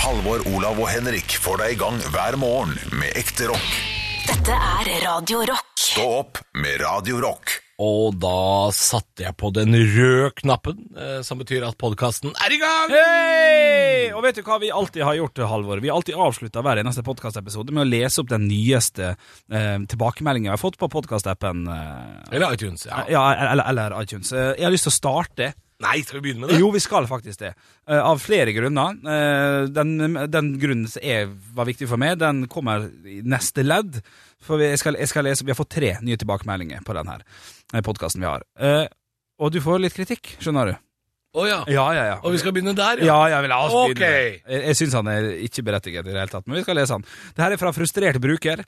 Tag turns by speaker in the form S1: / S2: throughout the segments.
S1: Halvor, Olav og Henrik får deg i gang hver morgen med ekte rock.
S2: Dette er Radio Rock.
S1: Stå opp med Radio Rock.
S3: Og da satte jeg på den røde knappen, eh, som betyr at podkasten er i gang!
S4: Hei! Og vet du hva vi alltid har gjort, Halvor? Vi har alltid avslutta hver eneste podkastepisode med å lese opp den nyeste eh, tilbakemeldinga jeg har fått på podkastappen. Eh,
S3: Eller iTunes, ja.
S4: ja, eller, eller iTunes. Eh, jeg har lyst til å starte.
S3: Nei, skal vi begynne med det?
S4: Jo, vi skal faktisk det. Eh, av flere grunner. Eh, den, den grunnen som er, var viktig for meg, den kommer i neste ledd. For vi- jeg skal, jeg skal lese, vi har fått tre nye tilbakemeldinger på denne podkasten vi har. Eh, og du får litt kritikk, skjønner du.
S3: Å ja.
S4: Ja, ja, ja.
S3: Og vi skal begynne der,
S4: Ja, jeg vil ha oss
S3: Ok.
S4: begynne. Jeg, jeg syns han er ikke berettiget i det hele tatt, men vi skal lese han. Det her er fra frustrert bruker.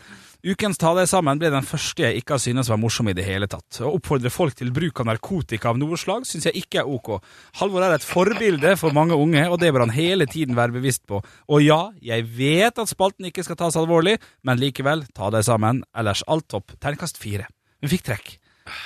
S4: Ukens tale sammen ble den første jeg ikke har synes var morsom i det hele tatt. Å oppfordre folk til bruk av narkotika av noe slag syns jeg ikke er ok. Halvor er et forbilde for mange unge, og det bør han hele tiden være bevisst på. Og ja, jeg vet at spalten ikke skal tas alvorlig, men likevel, ta deg sammen. Ellers alt topp. Terningkast fire. Hun fikk trekk.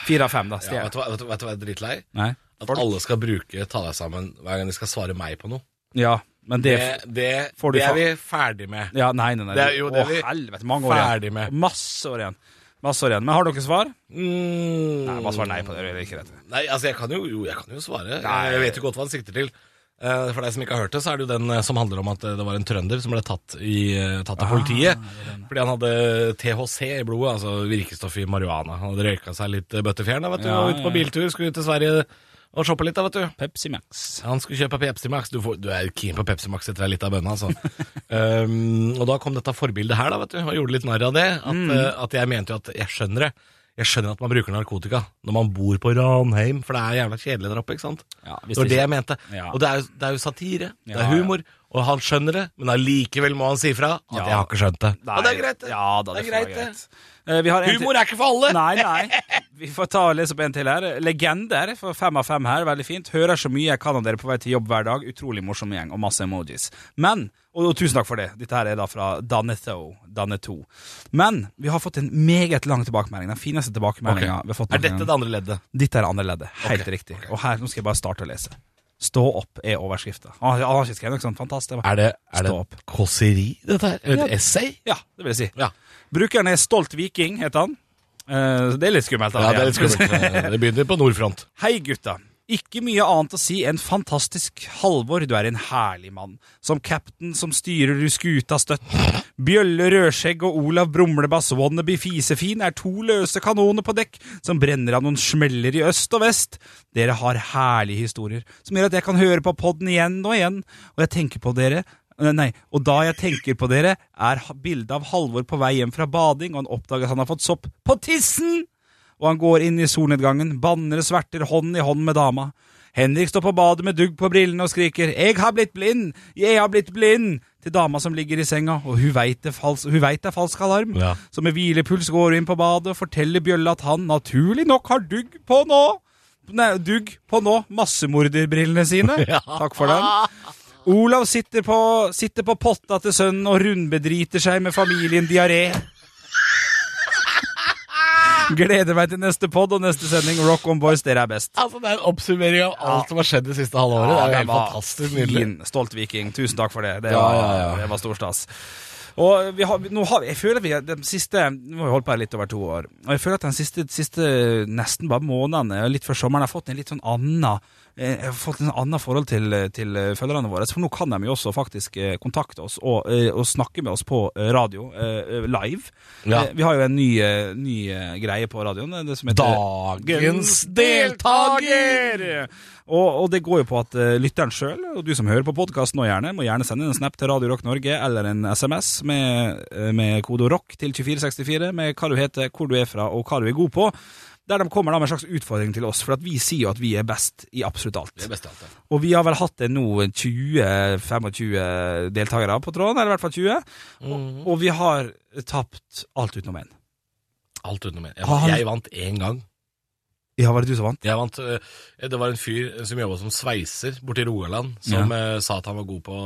S4: Fire av fem, da.
S3: Ja,
S4: Stjerne.
S3: vet, du hva, vet, du, vet du hva jeg er dritlei?
S4: Nei.
S3: At alle skal bruke ta deg sammen hver gang de skal svare meg på noe.
S4: Ja, men
S3: Det,
S4: det
S3: det,
S4: får du
S3: det
S4: fa-
S3: er vi ferdig med.
S4: Ja, nei, nei, nei.
S3: Det er jo det
S4: Å,
S3: vi
S4: helvete, mange år
S3: ferdig
S4: igjen.
S3: med.
S4: Masse år igjen. Masse år igjen. Men har dere svar?
S3: Mm.
S4: Nei, bare svar nei på det. Det er ikke rett.
S3: Nei, altså jeg kan jo, jo, jeg kan jo svare.
S4: Nei.
S3: Jeg vet jo godt hva han sikter til. Eh, For deg som ikke har hørt det, så er det jo den eh, som handler om at eh, det var en trønder som ble tatt, i, eh, tatt
S4: Ah,
S3: av politiet fordi han hadde THC i blodet, altså virkestoff i marihuana. Han hadde røyka seg litt eh, bøttefjern da, vet du,
S4: Ja,
S3: og ute på
S4: ja.
S3: biltur, skulle ut til Sverige og shoppe litt da, vet du.
S4: Pepsi Max.
S3: Han skulle kjøpe Pepsi Max. Du, får, du er keen på Pepsi Max etter deg litt av bønna, altså. um, og da kom dette forbildet her, da, vet du, og gjorde litt narr av det. At,
S4: Mm.
S3: eh, at jeg mente jo at jeg skjønner det. Jeg skjønner at man bruker narkotika når man bor på Ranheim, for det er jævla kjedelig der oppe, ikke sant?
S4: Ja,
S3: det
S4: hvis
S3: var
S4: det
S3: det
S4: ikke-
S3: jeg mente.
S4: Ja.
S3: Og det er, jo- det er jo satire, det
S4: Ja,
S3: er
S4: ja.
S3: humor, og han skjønner det, men allikevel må han si fra at
S4: Ja.
S3: jeg har ikke skjønt det.
S4: Nei.
S3: Og det er greit, det.
S4: Ja, da, det,
S3: Det er
S4: får være
S3: greit,
S4: greit.
S3: det.
S4: Eh, vi har en til-
S3: Humor er ikke for alle!
S4: Nei, nei. Vi får ta og lese opp en til her. Legender for fem av fem her. Veldig fint. Hører så mye jeg kan av dere på vei til jobb hver dag. Utrolig morsom gjeng og masse emojis. Men, og, og tusen takk for det. Dette her er da fra Danetho. Daneto. Men vi har fått en meget lang tilbakemelding. Den fineste tilbakemeldinga
S3: Ok.
S4: vi har fått.
S3: Er
S4: noen
S3: dette
S4: gang.
S3: det andre leddet?
S4: Dette er det andre leddet. Helt riktig. Og her, Nå skal jeg bare starte å lese. Stå opp er Ah, overskrifta. Han har- han har ikke skrevet noe sånt fantastisk.
S3: Er det,
S4: er det
S3: et kåseri, dette her? Et essay?
S4: Ja, det vil jeg si.
S3: Ja.
S4: Brukeren er Stolt Viking, heter han. Eh, så det er litt skummelt. da.
S3: Ja, det er litt skummelt. Det begynner på nordfront.
S4: Hei, gutta. Ikke mye annet å si enn fantastisk Halvor, du er en herlig mann. Som cap'n som styrer du skuta støtt. Bjølle Rødskjegg og Olav Brumlebass Wannabe Fisefin er to løse kanoner på dekk som brenner av noen smeller i øst og vest. Dere har herlige historier som gjør at jeg kan høre på podden igjen og igjen, og jeg tenker på dere Nei, Nei, og da jeg tenker på dere, er ha- bildet av Halvor på vei hjem fra bading, og han oppdager at han har fått sopp på tissen! og han går inn i solnedgangen, banner og sverter hånd i hånd med dama. Henrik står på badet med dugg på brillene og skriker 'Jeg har blitt blind! Jeg har blitt blind!' til dama som ligger i senga, og hun veit det, fals hun vet det er falsk alarm.
S3: Ja.
S4: Så med hvilepuls går hun inn på badet og forteller Bjølle at han naturlig nok har dugg på nå. Nei, dugg på nå massemorderbrillene sine. Takk for den. Olav sitter på, sitter på potta til sønnen og rundbedriter seg med familien diaré. Gleder meg til neste pod og neste sending. Rock on boys, dere er best.
S3: Altså, Det er en oppsummering av alt som har skjedd det siste halve året. det er jo helt
S4: var
S3: fantastisk nydelig.
S4: Fin, stolt viking. Tusen takk for det. Det
S3: Ja,
S4: var,
S3: ja, ja.
S4: det var stor stas. Og vi har, nå har, vi- jeg føler vi de siste Nå har vi holdt på her litt over to år. Og jeg føler at den siste, siste nesten bare månedene, og litt før sommeren, har fått en litt sånn anna eh, jeg har fått en anna forhold til, til eh, følgerne våre. For nå kan de jo også faktisk eh, kontakte oss og, eh, og snakke med oss på eh, radio eh, live.
S3: Ja.
S4: Eh, Vi har jo en ny, eh, ny eh, greie på radioen. eh, Det som heter
S3: Dagens deltaker!
S4: Og, og det går jo på at eh, lytteren sjøl, og du som hører på podkasten nå gjerne, må gjerne sende en snap til Radio Rock Norge eller en SMS med, eh, med kode ROCK til 2464 med hva du heter, hvor du er fra og hva du er god på. Der de kommer da med en slags utfordring til oss, for at vi sier jo at vi er best i absolutt alt.
S3: Det beste av alt, ja.
S4: Og vi har vel hatt det nå 20-25 deltakere på tråden, eller i hvert fall 20.
S3: Mhm.
S4: Og, og vi har tapt alt utenom én.
S3: Alt utenom meg. Jeg,
S4: Han-
S3: jeg vant én gang.
S4: Ja, var det du som vant?
S3: Jeg vant, øh, Det var en fyr som jobba som sveiser borti Rogaland, som øh, sa at han var god på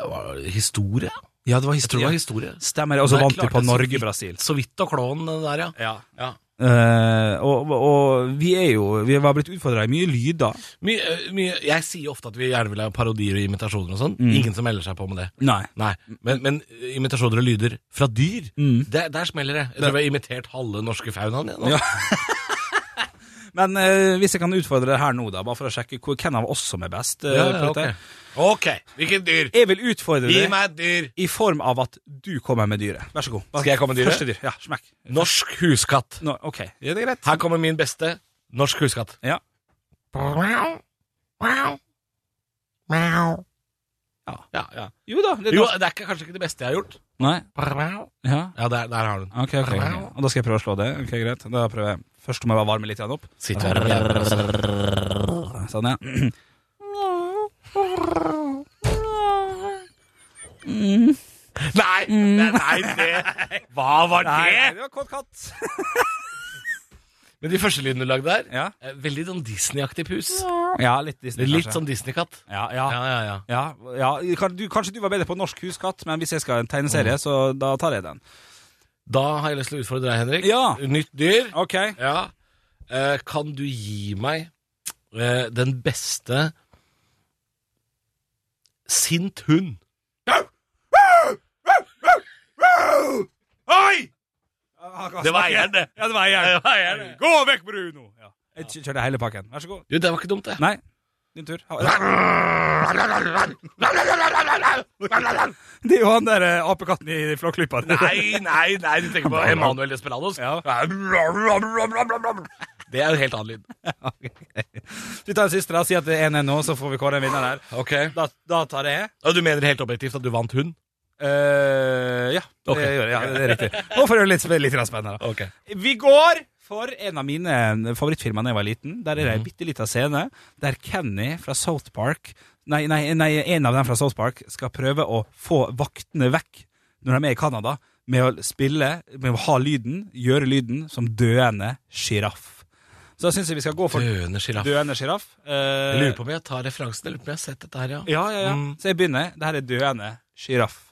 S3: øh, hva- historie.
S4: Ja, det var
S3: Jeg tror det
S4: historie.
S3: var historie.
S4: Stemmer det. Og så
S3: Der
S4: vant vi
S3: klarte
S4: på
S3: jeg så vidt.
S4: Norge-Brasil.
S3: Så vidt og klåen den der, ja. ja.
S4: Eh, og, og vi er jo Vi har blitt utfordra i mye lyd da.
S3: Mye, mye, eh, jeg sier ofte at vi gjerne vil ha parodier og imitasjoner og sånn. Ingen som melder seg på med det.
S4: Nei.
S3: Nei, men, men eh, imitasjoner og lyder fra dyr,
S4: Mm.
S3: der, der smeller det. Jeg tror vi har imitert halve norske faunaen. jeg, nå.
S4: Ja. Men eh, hvis jeg kan utfordre deg her nå, da, bare for å sjekke hvor- hvem av oss som er best. eh,
S3: Ja,
S4: på
S3: ja, ok.
S4: dette.
S3: ok, hvilket dyr?
S4: Jeg vil utfordre
S3: Gi
S4: deg
S3: meg et dyr!
S4: i form av at du kommer med dyret. Vær så god. Bare
S3: Skal jeg komme med dyret?
S4: Første dyr. Ja, smekk.
S3: Norsk huskatt.
S4: Nå, ok, ja, det er greit.
S3: Her kommer min beste norsk huskatt.
S4: Ja. Ja.
S3: Ja, ja.
S4: Jo da. Det er
S3: Jo, eh,
S4: norsk.
S3: det er ikke- kanskje ikke det beste jeg har gjort.
S4: Nei. Ja.
S3: Ja, der, der har du den.
S4: Ok, ok. ok. Og da skal jeg prøve å slå det. Ok, greit. Da prøver jeg. Først må jeg bare varme litt grann opp.
S3: Sitter her og jævler, altså.
S4: Sånn, ja.
S3: Nei, det, nei, det Hva var det?
S4: det var kåt katt.
S3: Men de første lydene du lagde der,
S4: Ja.
S3: eh, veldig sånn Disney-aktig pus.
S4: Ja, litt Disney,
S3: Litt
S4: kanskje.
S3: sånn Disney-katt.
S4: Ja, ja.
S3: Ja, ja, ja.
S4: Ja, ja. Kan, du, kanskje du var bedre på norsk huskatt, men hvis jeg skal ha en
S3: Mm.
S4: tegneserie, så da tar jeg den.
S3: Da har jeg lyst til å utfordre deg, Henrik.
S4: Ja.
S3: Nytt dyr.
S4: Ok.
S3: Ja. Eh, kan du gi meg eh, den beste sint hund?
S4: Oi!
S3: Det var eieren, det.
S4: Ja, det var
S3: Det var
S4: eieren. Gå vekk, Bruno! Ja. Jeg kj- kjørte hele pakken. Vær så god.
S3: Jo, det var ikke dumt, det.
S4: Nei, din tur. Ha- Det er jo han der eh, apekatten i Flåklypa.
S3: Nei, nei, nei, du tenker på Emanuel Desperados.
S4: Ja.
S3: Det er en helt annen lyd.
S4: Vi tar en siste, da. Si at det er 1-1 nå, så får vi kåre en vinner der.
S3: Ok
S4: Da, da tar jeg
S3: Du mener helt objektivt at du vant hund?
S4: Eh, ja,
S3: Ok.
S4: det gjør jeg. Ja, det er riktig. Nå får jeg litt, litt grann spennende. da.
S3: Ok
S4: Vi går for en av mine favorittfilmer da jeg var liten. Der er det
S3: Mhm.
S4: en bitte liten scene der Kenny fra South Park nei, nei, nei, en av dem fra South Park skal prøve å få vaktene vekk når de er i Canada, med å spille, med å ha lyden, gjøre lyden, som døende sjiraff. Så da syns jeg vi skal gå for
S3: Døende sjiraff.
S4: døende sjiraff. Eh,
S3: Jeg lurer på om jeg tar referansen. Jeg lurer på om jeg har sett dette her, ja.
S4: Ja, ja, ja.
S3: Mm.
S4: Så jeg begynner. Det her er døende sjiraff.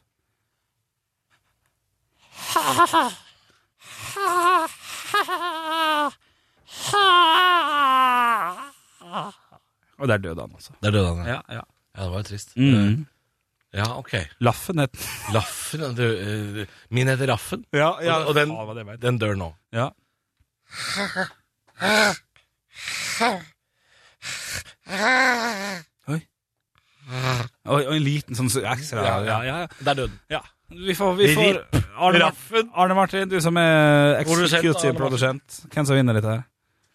S4: Og der døde han, altså.
S3: Der døde han, ja.
S4: Ja, ja.
S3: Ja, det var jo trist.
S4: Mm.
S3: Eh, Ja, ok.
S4: Laffen het
S3: Laffen ja, du, eh, Min heter Raffen.
S4: ja,
S3: og, og den,
S4: faen hva det var.
S3: den dør nå.
S4: ja. Oi. Oi, og en liten sånn ekstra
S3: Ja,
S4: Ja,
S3: ja.
S4: ja, ja.
S3: Der døde den.
S4: Ja, vi får, vi får
S3: Rip.
S4: Arne, Martin,
S3: Raffen.
S4: Arne Martin, du som er
S3: Produsent, Arne
S4: executive
S3: Martin.
S4: produsent. Hvem som vinner dette her?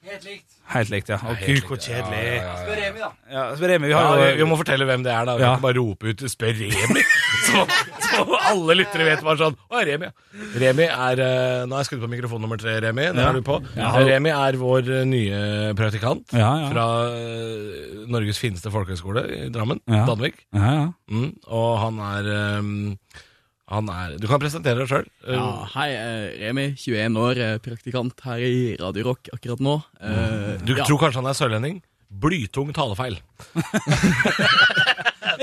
S4: Helt likt. Helt likt, ja. Å
S3: helt
S4: gud,
S3: likt,
S4: hvor
S3: ja.
S4: kjedelig.
S3: Ja, ja, ja, ja.
S4: Spør Remi, da. Ja, spør Remi, vi
S3: Ja,
S4: har
S3: vi,
S4: jo
S3: vi må fortelle hvem det er, da. Vi
S4: Ja.
S3: kan ikke bare rope ut 'spør Remi', som, som alle lyttere vet var sånn. Å, Remi, ja. Remi er eh, Nå har jeg skrudd på mikrofon nummer tre, Remi. Den
S4: Ja.
S3: er du på.
S4: Ja.
S3: Remi er vår eh, nye praktikant
S4: Ja, ja.
S3: fra eh, Norges fineste folkehøgskole i Drammen,
S4: Ja.
S3: Danvik.
S4: ja, ja.
S3: Mm, og han er eh, han er, Du kan presentere deg sjøl.
S5: Ja, hei, eh, Remi, 21 år, eh, praktikant her i Radio Rock akkurat nå. Eh,
S3: Du
S5: ja.
S3: tror kanskje han er sørlending? Blytung talefeil.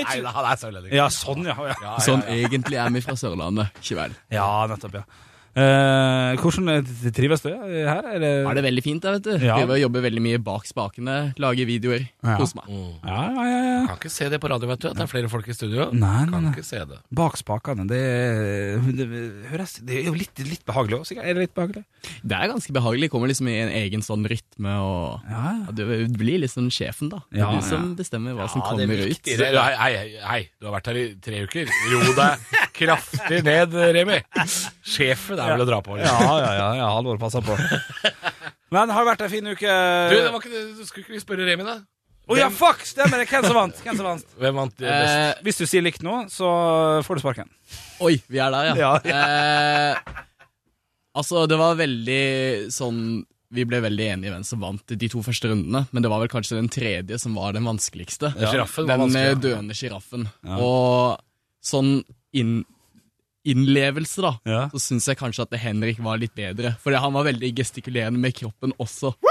S3: Nei da, han er sørlending.
S4: ja, sånn, ja. Ja,
S3: Ja,
S5: Sånn egentlig er vi fra Sørlandet, ikke vel?
S4: ja nettopp, ja. Eh, hvordan eh, trives du her? Er det,
S5: Er det veldig fint der, vet du?
S4: Ja.
S5: Driver og jobber veldig mye bak spakene, lager videoer.
S4: Ja.
S5: Kos meg.
S4: Ja, ja, ja, ja.
S3: Kan ikke se det på radio, vet du. At det er flere folk i studio.
S4: Nei, nei,
S3: Kan
S4: nei.
S3: ikke se det.
S4: Bak spakene, det, det, høres, det er jo litt, litt behagelig òg, sikkert. Er det litt behagelig?
S5: Det er ganske behagelig. Kommer liksom i en egen sånn rytme og
S4: Ja, ja.
S5: ja, Du blir liksom sjefen, da. Det er
S4: Ja, ja.
S5: du som bestemmer hva som
S4: det er
S5: kommer ut.
S3: Hei, hei, hei, du har vært her i tre uker. Ro deg kraftig ned, Remi. Sjefen er vel å dra på. Liksom.
S4: Ja, ja, ja, ja Halvor passer på. Men har det vært en fin uke?
S3: Du, det var ikke, det- du skulle ikke vi spørre Remi, da?
S4: Å ja, fuck! Stemmer det. Hvem som vant? Hvem som vant?
S3: Hvem vant eh, best?
S5: Eh,
S4: Hvis du sier likt nå, så får du sparken.
S5: Oi, vi er der, ja.
S4: Ja,
S5: Eh, altså, det var veldig sånn Vi ble veldig enige i hvem som vant de to første rundene, men det var vel kanskje den tredje som var den vanskeligste.
S3: Ja, giraffen var
S5: den
S3: vanskelig, ja.
S5: eh, døende sjiraffen. Og sånn inn, innlevelse, da,
S4: Ja.
S5: så syns jeg kanskje at Henrik var litt bedre. For han var veldig gestikulerende med kroppen også. Ja,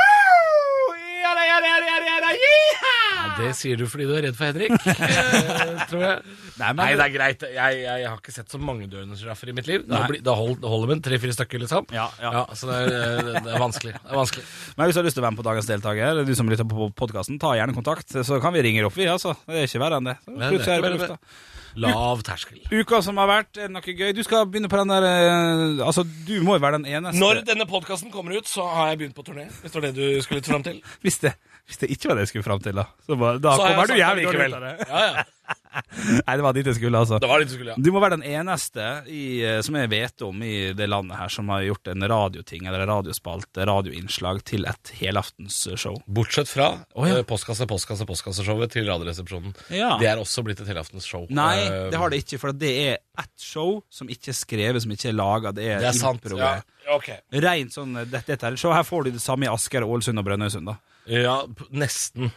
S3: Det sier du fordi du er redd for Henrik, eh, tror jeg.
S4: Nei, men-
S3: Nei, det er greit. Jeg, jeg, jeg har ikke sett så mange døende sjiraffer i mitt liv. Det,
S4: Nei.
S3: blir, det, hold, det holder med en tre-fire stykker, liksom.
S4: Ja, ja.
S3: så det er, eh, det, det er vanskelig. Det er vanskelig.
S4: Men hvis du har lyst til å være med på dagens deltaker, eller du som lytter på podkasten, ta gjerne kontakt, så kan vi ringe deg opp, vi, altså. Det er ikke verre enn det. Så
S3: Nei, det er
S4: Plutselig er det
S3: ikke
S4: på
S3: verre enn
S4: lufta.
S3: Lav terskel.
S4: Uka som har vært, er det noe gøy? Du skal begynne på den der eh, Altså, du må jo være den eneste
S3: Når denne podkasten kommer ut, så har jeg begynt på turné. Hvis det var det du skulle litt fram til.
S4: hvis, det, hvis det ikke var det jeg skulle fram til, da, så bare, da
S3: Så har jeg
S4: kommer
S3: sagt
S4: du
S3: det
S4: jævlig dårlig
S3: likevel.
S4: ut av det.
S3: Ja, ja.
S4: Nei, det var dit jeg skulle, altså.
S3: Det var litt du skulle, ja.
S4: Du må være den eneste i, eh, som jeg vet om i det landet her, som har gjort en radioting eller en radiospalte, radioinnslag, til et helaftens-show.
S3: Bortsett fra
S4: Å, ja.
S3: eh, postkasse, postkasse, postkasseshowet til Radioresepsjonen.
S4: Ja.
S3: Det er også blitt et helaftenshow.
S4: Nei,
S3: Eh,
S4: det har det ikke, for det er ett show som ikke er skrevet, som ikke er laga. Det er,
S3: Det er sant.
S4: impro.
S3: Ja, ok.
S4: Rent sånn eh, dette, dette er et show. Her får du det samme i Asker, Ålesund og Brønnøysund, da.
S3: Ja, p- nesten.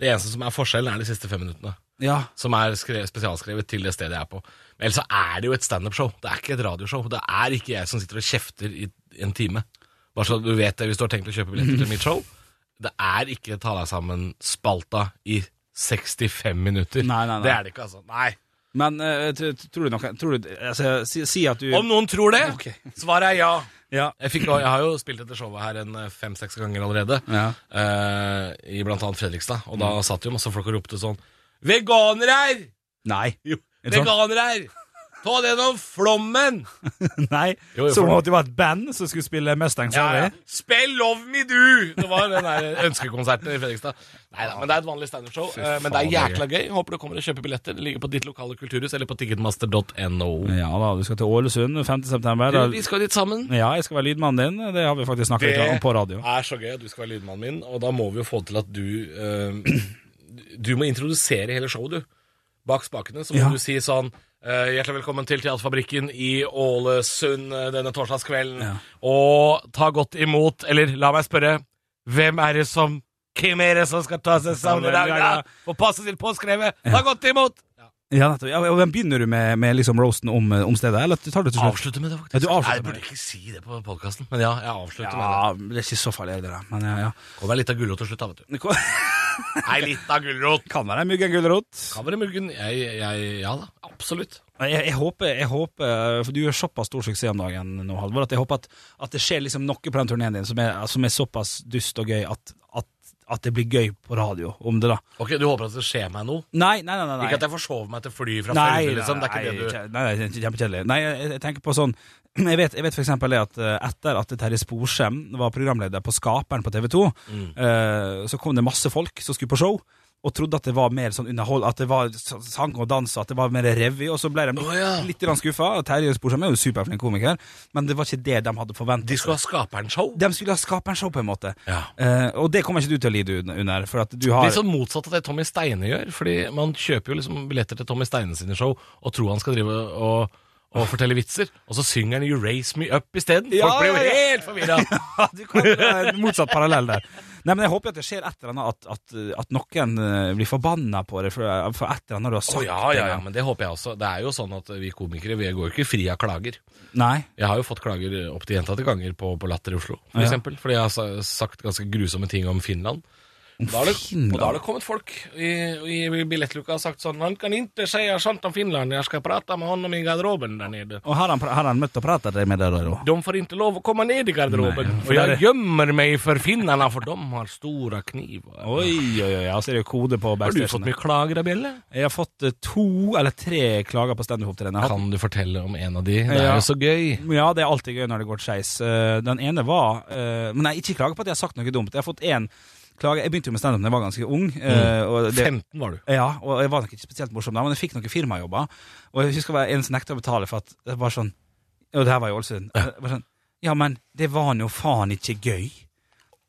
S3: Det eneste som er forskjellen, er de siste fem minuttene.
S4: Ja.
S3: Som er skre spesialskrevet til det stedet jeg er på. Men ellers så er det jo et standup-show. Det er ikke et radioshow. Det er ikke jeg som sitter og kjefter i en time. Bare så du vet det hvis du har tenkt å kjøpe billetter til mitt show. Det er ikke Ta deg sammen-spalta i 65 minutter.
S4: Nei, nei, nei.
S3: Det er det ikke, altså. Nei.
S4: Men eh, tr- tr- tror du noe tror du, altså, si, si at du
S3: Om noen tror det,
S4: Ok.
S3: svaret er ja.
S4: Ja.
S3: Jeg, fikk, jeg har jo spilt dette showet her en eh, fem-seks ganger allerede.
S4: Ja. Mm.
S3: eh, I blant annet Fredrikstad. Og da satt jo masse folk og ropte sånn Veganere her!
S4: Nei.
S3: Jo,
S4: Er det sånn?
S3: veganere her! Ta det gjennom flommen!
S4: Nei.
S3: Jo, jo,
S4: Som
S3: for-
S4: om det var et band som skulle spille Mustang
S3: Ja,
S4: Sally.
S3: ja. Spill Love Me Do! Det var den der ønskekonserten i Fredrikstad. Nei da, men det er et vanlig standup-show. eh, Men det er
S4: faen, det
S3: jækla gøy. Håper du kommer og kjøper billetter. Det ligger på ditt lokale kulturhus eller på ticketmaster.no.
S4: Ja da, du skal til Ålesund 5. september.
S3: Du,
S4: Da,
S3: Vi skal dit sammen.
S4: ja, jeg skal være lydmannen din. Det har vi faktisk snakket litt om på radio.
S3: er så gøy at du skal være lydmannen min, og da må vi jo få til at du eh, Du må introdusere hele showet, du. Bak spakene så må
S4: Ja.
S3: du si sånn eh, Hjertelig velkommen til Teaterfabrikken i Ålesund eh, denne torsdagskvelden.
S4: Ja.
S3: Og ta godt imot, eller la meg spørre, hvem er det som hvem er det som skal ta seg sammen i dag, da? Og passe sitt påskrevet? Ta godt imot!
S4: Ja, nettopp. Ja, og hvem begynner du med, med liksom roasten om, om stedet, eller tar du det til slutt?
S3: Avslutte med det,
S4: Ja,
S3: faktisk.
S4: du avslutter
S3: Nei, jeg
S4: med
S3: burde ikke si det på podkasten, men ja, jeg avslutter med det.
S4: Ja, det er ikke så farlig, det der. Men ja, ja.
S3: Kom deg litt av gulrot til slutt, da, vet du.
S4: Det kan-
S3: Nei, litt av gulrot!
S4: Kan være en mygg, en gulrot.
S3: Kan være muggen. Jeg, jeg, ja da, absolutt.
S4: Jeg, jeg, håper, jeg håper, eh, for du gjør såpass stor suksess om dagen nå, Halvor, at jeg håper at, at det skjer liksom noe på den turneen din som er, som er såpass dust og gøy at, at, at det blir gøy på radio om det, da.
S3: Ok, Du håper at det skjer meg noe?
S4: Nei, nei, nei. nei, nei.
S3: Ikke at jeg forsover meg til fly fra
S4: Nei,
S3: Førde, liksom. Det er ikke det du
S4: nei, nei, nei, kjempekjedelig. Nei, jeg, jeg tenker på sånn jeg vet, jeg vet for eksempel det at eh, etter at Terje Sporsem var programleder på Skaperen på TV 2,
S3: Mm.
S4: så kom det masse folk som skulle på show, og trodde at det var mer sånn underhold, at det var s- sang og dans, at det var mer revy, og så ble de litt,
S3: Å, ja.
S4: litt grann skuffa. Terje Sporsem er jo superflink komiker, men det var ikke det de hadde forventet.
S3: De skulle ha Skaperen-show.
S4: de skulle ha Skaperen-show, på en måte.
S3: Ja.
S4: Eh, og det kommer ikke du til å lide un- under, for at du har
S3: Litt sånn motsatt av det Tommy Steine gjør. Fordi man kjøper jo liksom billetter til Tommy Steine sine show og tror han skal drive og og fortelle vitser, og så synger han 'You Raise Me Up' isteden. Folk
S4: Ja,
S3: blir jo
S4: ja, ja.
S3: helt forvirra.
S4: Ja, du kan dra en motsatt parallell der. Nei, men Jeg håper at det skjer et eller annet, at, at, at noen eh, blir forbanna på det for, eh, for et eller annet du har sagt.
S3: Å ja, ja, ja,
S4: til dem.
S3: men det håper jeg også. Det er jo sånn at vi komikere vi går jo ikke fri av klager.
S4: Nei,
S3: Jeg har jo fått klager opp til gjentatte ganger på, på Latter i Oslo, for
S4: Ja.
S3: eksempel. Fordi jeg har sa- sagt ganske grusomme ting om Finland. Da har det,
S4: Finland?
S3: Og da har det kommet folk i, i billettluka og sagt sånn Han kan ikke si sånt om Finland, jeg skal prate med han om i garderoben der nede.
S4: Og har han, pra- har han møtt og pratet med deg, da?
S3: De får ikke lov å komme ned i garderoben,
S4: Nei,
S3: og
S4: for det
S3: jeg
S4: er-
S3: gjemmer meg for finnene, for de har store kniver.
S4: Oi, oi, oi, altså er det jo kode
S3: har
S4: på
S3: du fått
S4: backstagen.
S3: mye klager, da, Bjelle?
S4: Jeg har fått eh, to eller tre klager på standup-opptredener.
S3: Kan du fortelle om en av de? Det er
S4: Ja.
S3: jo så gøy.
S4: Ja, det er alltid gøy når det går skeis. Eh, Den ene var eh, Men jeg ikke klager på at jeg har sagt noe dumt. Jeg har fått én klage. Jeg begynte jo med standup da jeg var ganske ung. eh,
S3: Mm.
S4: og det-
S3: 15 var du.
S4: Ja, og jeg var nok ikke spesielt morsom da, men jeg fikk noen firmajobber. Og jeg husker det var en som nekta å betale for at det var sånn Og det her var i Ålesund. Det var Sånn, ja, men det var nå faen ikke gøy.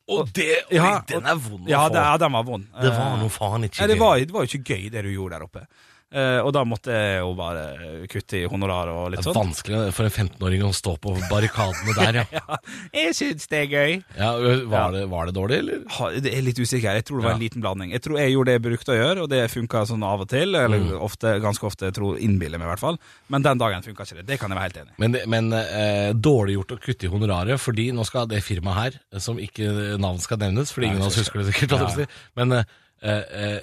S3: Og det, oi,
S4: Ja, og-
S3: den er vond å
S4: Ja,
S3: få.
S4: det, ja den var vond.
S3: Det var noe faen ikke
S4: Nei, det
S3: gøy.
S4: var, det var jo ikke gøy, det du gjorde der oppe. Eh, og da måtte jeg jo bare eh, kutte i honorar og litt
S3: Det er
S4: sånn.
S3: vanskelig for en 15-åring å stå på barrikadene der, ja.
S4: Jeg syns det er gøy.
S3: ja var, det, var det dårlig, eller?
S4: Ha, det er litt usikker. Jeg tror det var en
S3: Ja.
S4: liten blanding. Jeg tror jeg gjorde det jeg brukte å gjøre, og det funka sånn av og til. Eller
S3: Mm.
S4: ofte, ganske ofte, jeg tror innbiller jeg meg i hvert fall. Men den dagen funka ikke det. Det kan jeg være helt enig i.
S3: Men, det- men eh, dårlig gjort å kutte i honoraret, fordi nå skal det firmaet her, som ikke navn skal nevnes, fordi ingen av oss husker det sikkert, hva det vil si, men eh, eh, eh,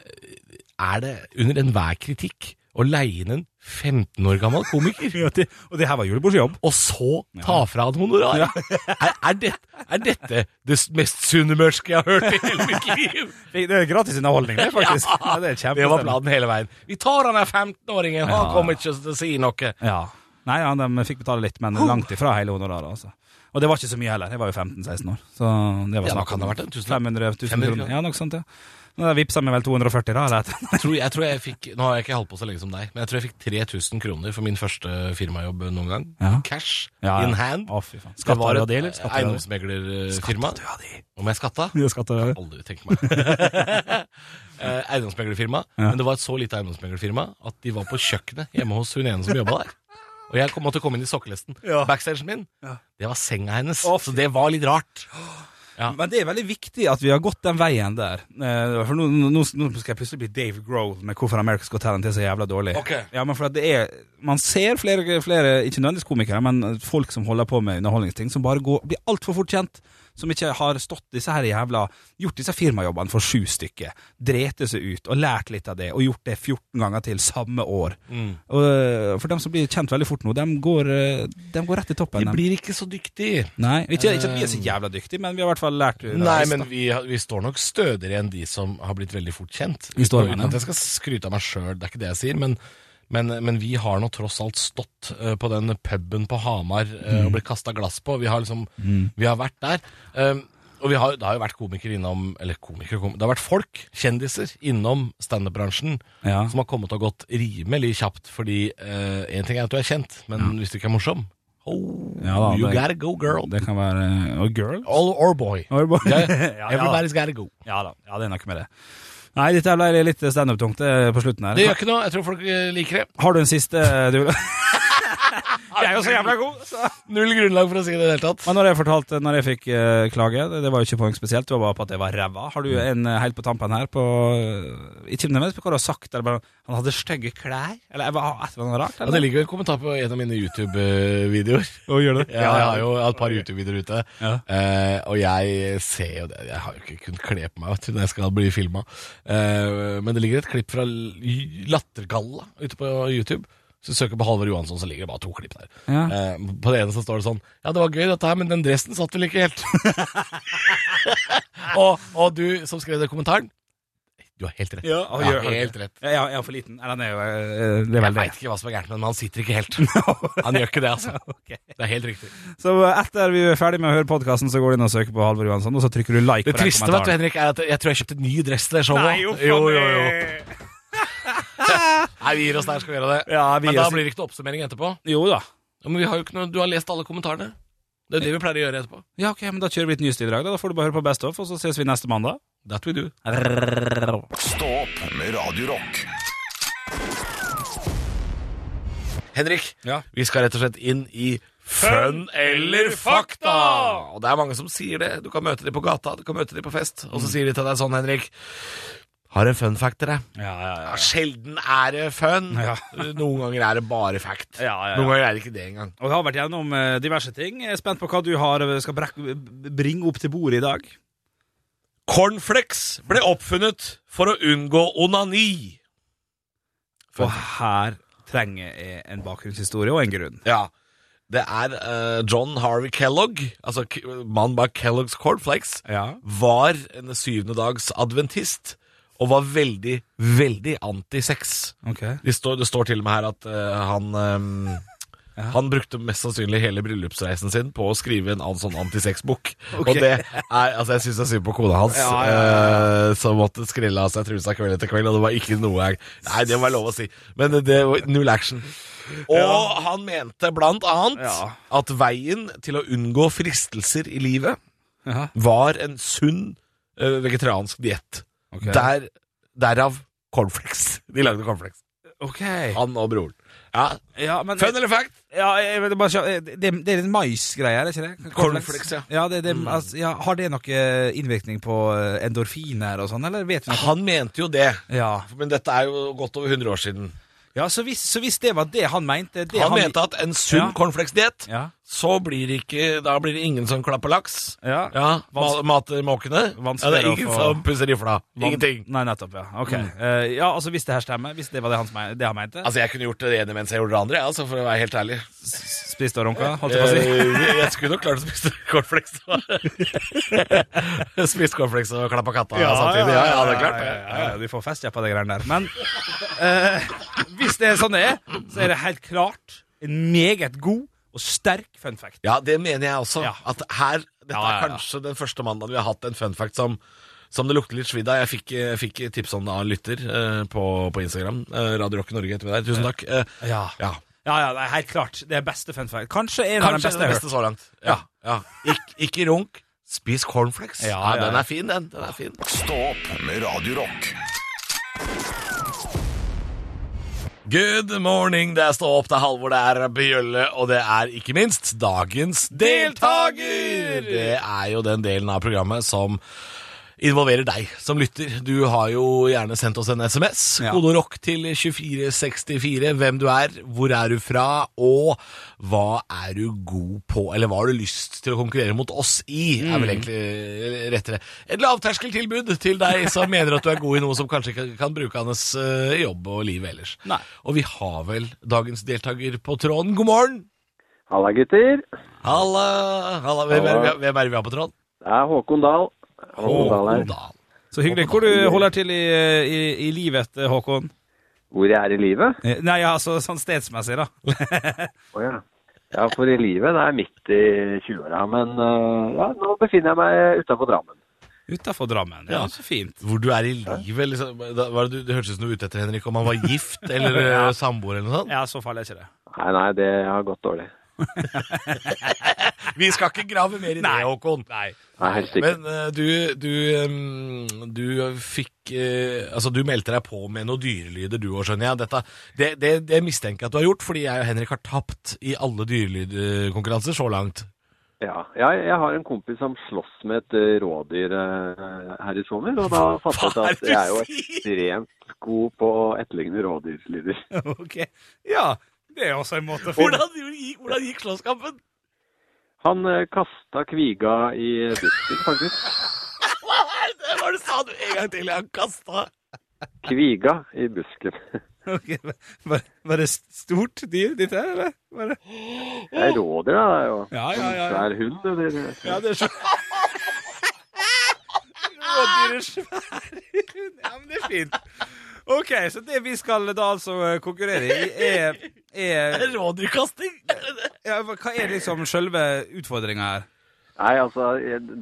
S3: Er det under enhver kritikk å leie inn en 15 år gammel komiker?
S4: Ja, det, og det her var julebords jobb.
S3: Og så ta fra han honoraret? Er, er, det, er dette det mest sunnmørske jeg har hørt i hele mitt liv?
S4: Det er gratis underholdning, det, faktisk. Ja, det, er
S3: Det var
S4: kjempespennende.
S3: planen hele veien. Vi tar han her 15-åringen, han kommer ikke til å si noe.
S4: Ja. Nei, ja, de fikk betale litt, men langt ifra hele honoraret. Altså. Og det var ikke så mye heller. Jeg var jo 15-16 år. Så det var
S3: Ja, hva
S4: snakk
S3: kan
S4: om
S3: det ha vært, en tusenlapp?
S4: 500 000
S3: 500
S4: kroner. Ja, noe sånt, ja. Men da vippsa meg vel 240, da. Eller? et-
S3: Jeg tror, jeg tror jeg fikk, Nå har jeg ikke holdt på så lenge som deg, men jeg tror jeg fikk 3000 kroner for min første firmajobb noen gang.
S4: Ja.
S3: Cash
S4: Ja, ja.
S3: in hand.
S4: Å, fy faen.
S3: Det
S4: Skatta
S3: var
S4: du av
S3: et
S4: det, eller? Skatta du av det?
S3: eiendomsmeglerfirma.
S4: Skatta du av det?
S3: Om jeg skatta?
S4: Ja, skatta du av det?
S3: Aldri tenkt meg. Eh, eiendomsmeglerfirma. Men det var et så lite eiendomsmeglerfirma at de var på kjøkkenet hjemme hos hun ene som jobba der. Og jeg kom, måtte komme inn i sokkelesten.
S4: Ja.
S3: Backstagen min, det var senga hennes.
S4: Å, fy.
S3: så det var litt rart.
S4: Men det er veldig viktig at vi har gått den veien der. Eh, For nå, nå, nå skal jeg plutselig bli Dave Grohl med hvorfor America's Got Talent er så jævla dårlig.
S3: Ok.
S4: Ja, men for at det er Man ser flere, flere ikke nødvendigvis komikere, men folk som holder på med underholdningsting, som bare går, blir altfor fort kjent. Som ikke har stått disse her jævla gjort disse firmajobbene for sju stykker. Drete seg ut og lært litt av det, og gjort det 14 ganger til samme år.
S3: Mm.
S4: Og, eh, for dem som blir kjent veldig fort nå, dem går, eh, dem går rett i toppen.
S3: De
S4: dem.
S3: blir ikke så dyktige.
S4: Nei, ikke, ikke at vi er så jævla dyktige, men vi har i hvert fall lært eh,
S3: Nei, men vi, har- vi står nok stødigere enn de som har blitt veldig fort kjent.
S4: Vi står med
S3: uten
S4: dem.
S3: at jeg skal skryte av meg sjøl, det er ikke det jeg sier. Men, men, men vi har nå tross alt stått eh, på den puben på Hamar eh,
S4: Mm.
S3: og blitt kasta glass på. Vi har liksom Vi har vært der. Um, og vi har, det har jo vært komikere innom Eller komikere, kom- det har vært folk, kjendiser, innom standup-bransjen
S4: Ja.
S3: som har kommet og gått rimelig kjapt. Fordi én ting er at du er kjent, men hvis du ikke er morsom Oh,
S4: Ja da,
S3: you
S4: det-
S3: gotta go, girl.
S4: Det kan være Og girl?
S3: All or boy.
S4: Or boy.
S3: Ja,
S4: Ja, ja.
S3: everybody's gotta go.
S4: Ja da, ja, det er noe med det. Nei, dette her ble litt standup-tungt eh, på slutten her.
S3: Det gjør ikke noe, jeg tror folk eh, liker det.
S4: Har du en siste eh, du vil Jeg er jo så jævla god! Så.
S3: Null grunnlag for å si det i det hele tatt.
S4: Men når jeg fortalte Når jeg fikk eh, klage, det, det var jo ikke på noe spesielt, det var bare på at jeg var ræva. Har du en eh, helt på tampen her på eh, Ikke nødvendigvis på hva du har sagt, eller bare Han hadde stygge klær? Eller jeg var et eller annet rart?
S3: Ja, det ligger jo en kommentar på en av mine YouTube-videoer.
S4: gjør det?
S3: Jeg har jo et par YouTube-videoer ute,
S4: Ja.
S3: eh, og jeg ser jo det Jeg har jo ikke kunnet kle på meg vet du, når jeg skal bli filma. men det ligger et klipp fra L- Lattergalla ute på YouTube. Hvis du søker på Halvor Johansson, så ligger det bare to klipp der.
S4: Ja.
S3: Eh, på det ene så står det sånn Ja, det var gøy dette her, men den dressen satt vel ikke helt. og, og du som skrev den kommentaren, du har helt rett.
S4: Ja, og
S3: Ja,
S4: gjør-
S3: helt rett.
S4: Ja, jeg er for liten. Nei, den er jo eh, Det er
S3: Jeg
S4: vel det.
S3: veit ikke hva som er gærent, men han sitter ikke helt. Han gjør ikke det, altså. Det er helt riktig.
S4: Så etter vi er ferdig med å høre podkasten, så går du inn og søker på Halvor Johansson, og så trykker du like
S3: Det
S4: på
S3: triste
S4: den
S3: vet du,
S4: kommentaren.
S3: Henrik, er at jeg tror jeg kjøpte ny dress til det showet.
S4: Nei, jo, faen, eh.
S3: jo, jo, jo. Nei, vi gir oss der, skal vi gjøre det.
S4: Ja, vi
S3: Men da
S4: gir oss-
S3: blir det ikke noe oppsummering etterpå.
S4: Jo da.
S3: Ja, men vi har jo ikke noe, du har lest alle kommentarene. Det er det vi pleier å gjøre etterpå.
S4: Ja, ok, men Da kjører vi et nyeste i dag. Da Da får du bare høre på Best of, og så ses vi neste mandag.
S3: That we do.
S1: Stå opp med Radio Rock.
S3: Henrik,
S4: Ja.
S3: vi skal rett og slett inn i Fun eller fakta! Og det er mange som sier det. Du kan møte dem på gata, du kan møte dem på fest, og så sier de til deg sånn, Henrik. Har en fun fact til deg.
S4: Ja, ja, ja.
S3: Ja, sjelden er det fun.
S4: Ja.
S3: Noen ganger er det bare fact.
S4: Ja, ja, ja.
S3: Noen ganger er det ikke det engang.
S4: Og Vi har vært gjennom eh, diverse ting. Jeg er spent på hva du har, eh, skal brekk- b- bringe opp til bordet i dag.
S3: Cornflakes ble oppfunnet for å unngå onani.
S4: Og her trenger jeg en bakgrunnshistorie og en grunn.
S3: Ja. Det er eh, John Harvey Kellogg, altså k- mannen bak Kellogg's Cornflakes,
S4: Ja.
S3: var en syvende dags adventist og var veldig, veldig antisex.
S4: Ok.
S3: De står, det står til og med her at eh, han ehm, Han brukte mest sannsynlig hele bryllupsreisen sin på å skrive en annen sånn antisex-bok. Og det er, altså Jeg syns det er synd på kona hans,
S4: Ja, ja,
S3: eh, som måtte skrelle av seg trusa kveld etter kveld. Og det var ikke noe jeg Nei, det må være lov å si. Men det var null action. Og han mente blant annet
S4: Ja.
S3: at veien til å unngå fristelser i livet
S4: Ja.
S3: var en sunn eh, vegetariansk diett.
S4: Ok.
S3: Der, derav cornflakes. De lagde cornflakes.
S4: Ok.
S3: Han og broren. Ja.
S4: Ja, men,
S3: Fun eller fact?
S4: ja, jeg, vil bare, se- eh, det, det er en maisgreie, er det ikke det?
S3: Cornflakes, ja. Mm.
S4: ja, det, det, altså, ja. Har det noe innvirkning på eh, endorfiner og sånn, eller vet vi noe?
S3: Han mente jo det,
S4: Ja.
S3: men dette er jo godt over 100 år siden.
S4: Ja, så hvis, så hvis det var det han mente det
S3: Han, mente at en sunn
S4: Ja.
S3: cornflakesdiett,
S4: Ja.
S3: så blir det ikke Da blir det ingen som klapper laks.
S4: Ja.
S3: Ja, ma- Matmåkene. Ja, det er
S4: Vanskeligere å
S3: ingen
S4: få-
S3: som pusser rifla. Ingenting. Mm.
S4: Nei, nettopp, ja. Ok. Eh, ja, altså hvis det her stemmer, hvis det var det han, som me- det han mente
S3: Altså, jeg kunne gjort det ene mens jeg gjorde det andre, jeg, altså, for å være helt ærlig.
S4: Spiste og runka, holdt jeg på å si.
S3: Eh, jeg skulle nok klart å spise cornflakes. Spist cornflakes og klappa katta samtidig. Ja, ja, det er klart.
S4: ja, ja, ja, Du får fest ja, på de greiene der. Men eh, hvis det er sånn det er, så er det helt klart en meget god og sterk fun fact.
S3: Ja, det mener jeg også.
S4: Ja.
S3: At her, Dette
S4: Ja, ja, ja.
S3: er kanskje den første mandagen vi har hatt en fun fact som, som det lukter litt svidd av. Jeg fikk, jeg fikk tips om det av en lytter eh, på, på Instagram. Eh, Radio Rock Norge heter vi der. Tusen takk. Eh,
S4: Ja, ja,
S3: ja.
S4: ja det er helt klart. Det er beste fun fact. Kanskje en av de
S3: Kanskje
S4: beste
S3: den
S4: jeg har hørt.
S3: beste så langt. Ja. ja. Ik ikke runk. Spis cornflakes.
S4: Ja,
S3: Ja,
S4: ja, ja.
S3: Den er fin, den. den er fin.
S1: Stå opp med Radio Rock.
S3: Good morning, det er Stå opp, det er Halvor, det er Bjølle, og det er ikke minst dagens deltaker! Det er jo den delen av programmet som involverer deg som lytter. Du har jo gjerne sendt oss en SMS.
S4: Ja.
S3: Kode rock til 2464. Hvem du er, hvor er du fra, og hva er du god på? Eller hva har du lyst til å konkurrere mot oss i, er
S4: Mm.
S3: vel egentlig eh, rettere. Et lavterskeltilbud til deg som mener at du er god i noe som kanskje ikke kan brukes eh, i jobb og livet ellers.
S4: Nei.
S3: Og vi har vel dagens deltaker på tråden. God morgen!
S6: Halla, gutter.
S3: Halla! Halla. Hvem, er-
S6: Halla.
S3: hvem er det vi har på tråden?
S6: Det er Håkon Dahl. Håkon Dahl her.
S3: Dahl.
S4: Så hyggelig. Hvor du holder til i, i, i livet, Håkon?
S6: Hvor jeg er i livet?
S4: Eh, Nei, ja, altså sånn stedsmessig, da.
S6: Å ja. Ja, for i livet det er midt i 20-åra. Men øh, ja, nå befinner jeg meg utafor Drammen.
S4: Utafor Drammen. Ja,
S3: Ja.
S4: så fint.
S3: Hvor du er i livet, liksom. Da, var det, du- det hørtes ut som du var ute etter Henrik, om han var gift eller eh, samboer eller noe sånt.
S4: Ja, så farlig er ikke det.
S6: Nei, nei, det har gått dårlig.
S3: Vi skal ikke grave mer i det,
S4: Nei.
S3: Håkon.
S6: Nei, helst ikke.
S3: Men eh, du, du, eh, du fikk eh, Altså, du meldte deg på med noen dyrelyder, du òg, skjønner jeg. Dette, det, det, det mistenker jeg at du har gjort, fordi jeg og Henrik har tapt i alle dyrelydkonkurranser så langt.
S6: Ja. Jeg, jeg har en kompis som slåss med et øh, rådyr øh, her i sommer. Og da fant jeg ut
S3: Hva er det
S6: at jeg er jo
S3: du
S6: ekstremt god på å etterligne rådyrlyder.
S4: Ok. Ja, det er også en måte å finne
S3: Hvordan, gikk- hvordan gikk slåsskampen?
S6: Han øh, kasta kviga i busken, faktisk.
S3: Det var det sa du en gang til, jeg kasta.
S6: Kviga i busken.
S4: Ok, Var, var det stort dyr, dette her, eller? Var det?
S6: Det er rådyr, da. Det er jo
S4: Ja, ja, ja, ja.
S6: svær hund, eller?
S4: Ja, det er så... Rådyret svær hund. Ja, men det er fint. Ok, så det vi skal da altså eh, konkurrere i, er, er
S3: Rådyrkasting.
S4: ja, Hva er liksom selve utfordringa her?
S6: Nei, altså,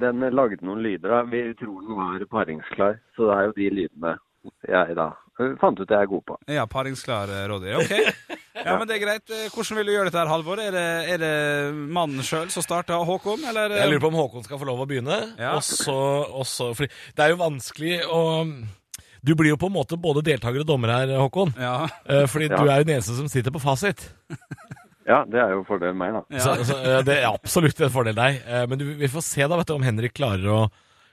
S6: den lagde noen lyder. da. Vi tror den var paringsklar, så det er jo de lydene jeg da fant ut jeg er god på.
S4: Ja, paringsklar eh, rådyr. Ok. Ja, men det er greit. Eh, Hvordan vil du gjøre dette her, Halvor? Er det, er det mannen sjøl som starter, Håkon, eller?
S3: Jeg lurer på om Håkon skal få lov å begynne.
S4: Ja.
S3: Og så, og så, fordi det er jo vanskelig å Du blir jo på en måte både deltaker og dommer her, Håkon.
S4: Ja.
S3: Eh, Fordi
S6: Ja.
S3: du er jo den eneste som sitter på fasit.
S6: Ja, det er jo fordelen meg, da.
S4: Ja.
S3: Så, så, eh, det er absolutt en fordel deg. Eh, Men du, vi får se da, vet du, om Henrik klarer å,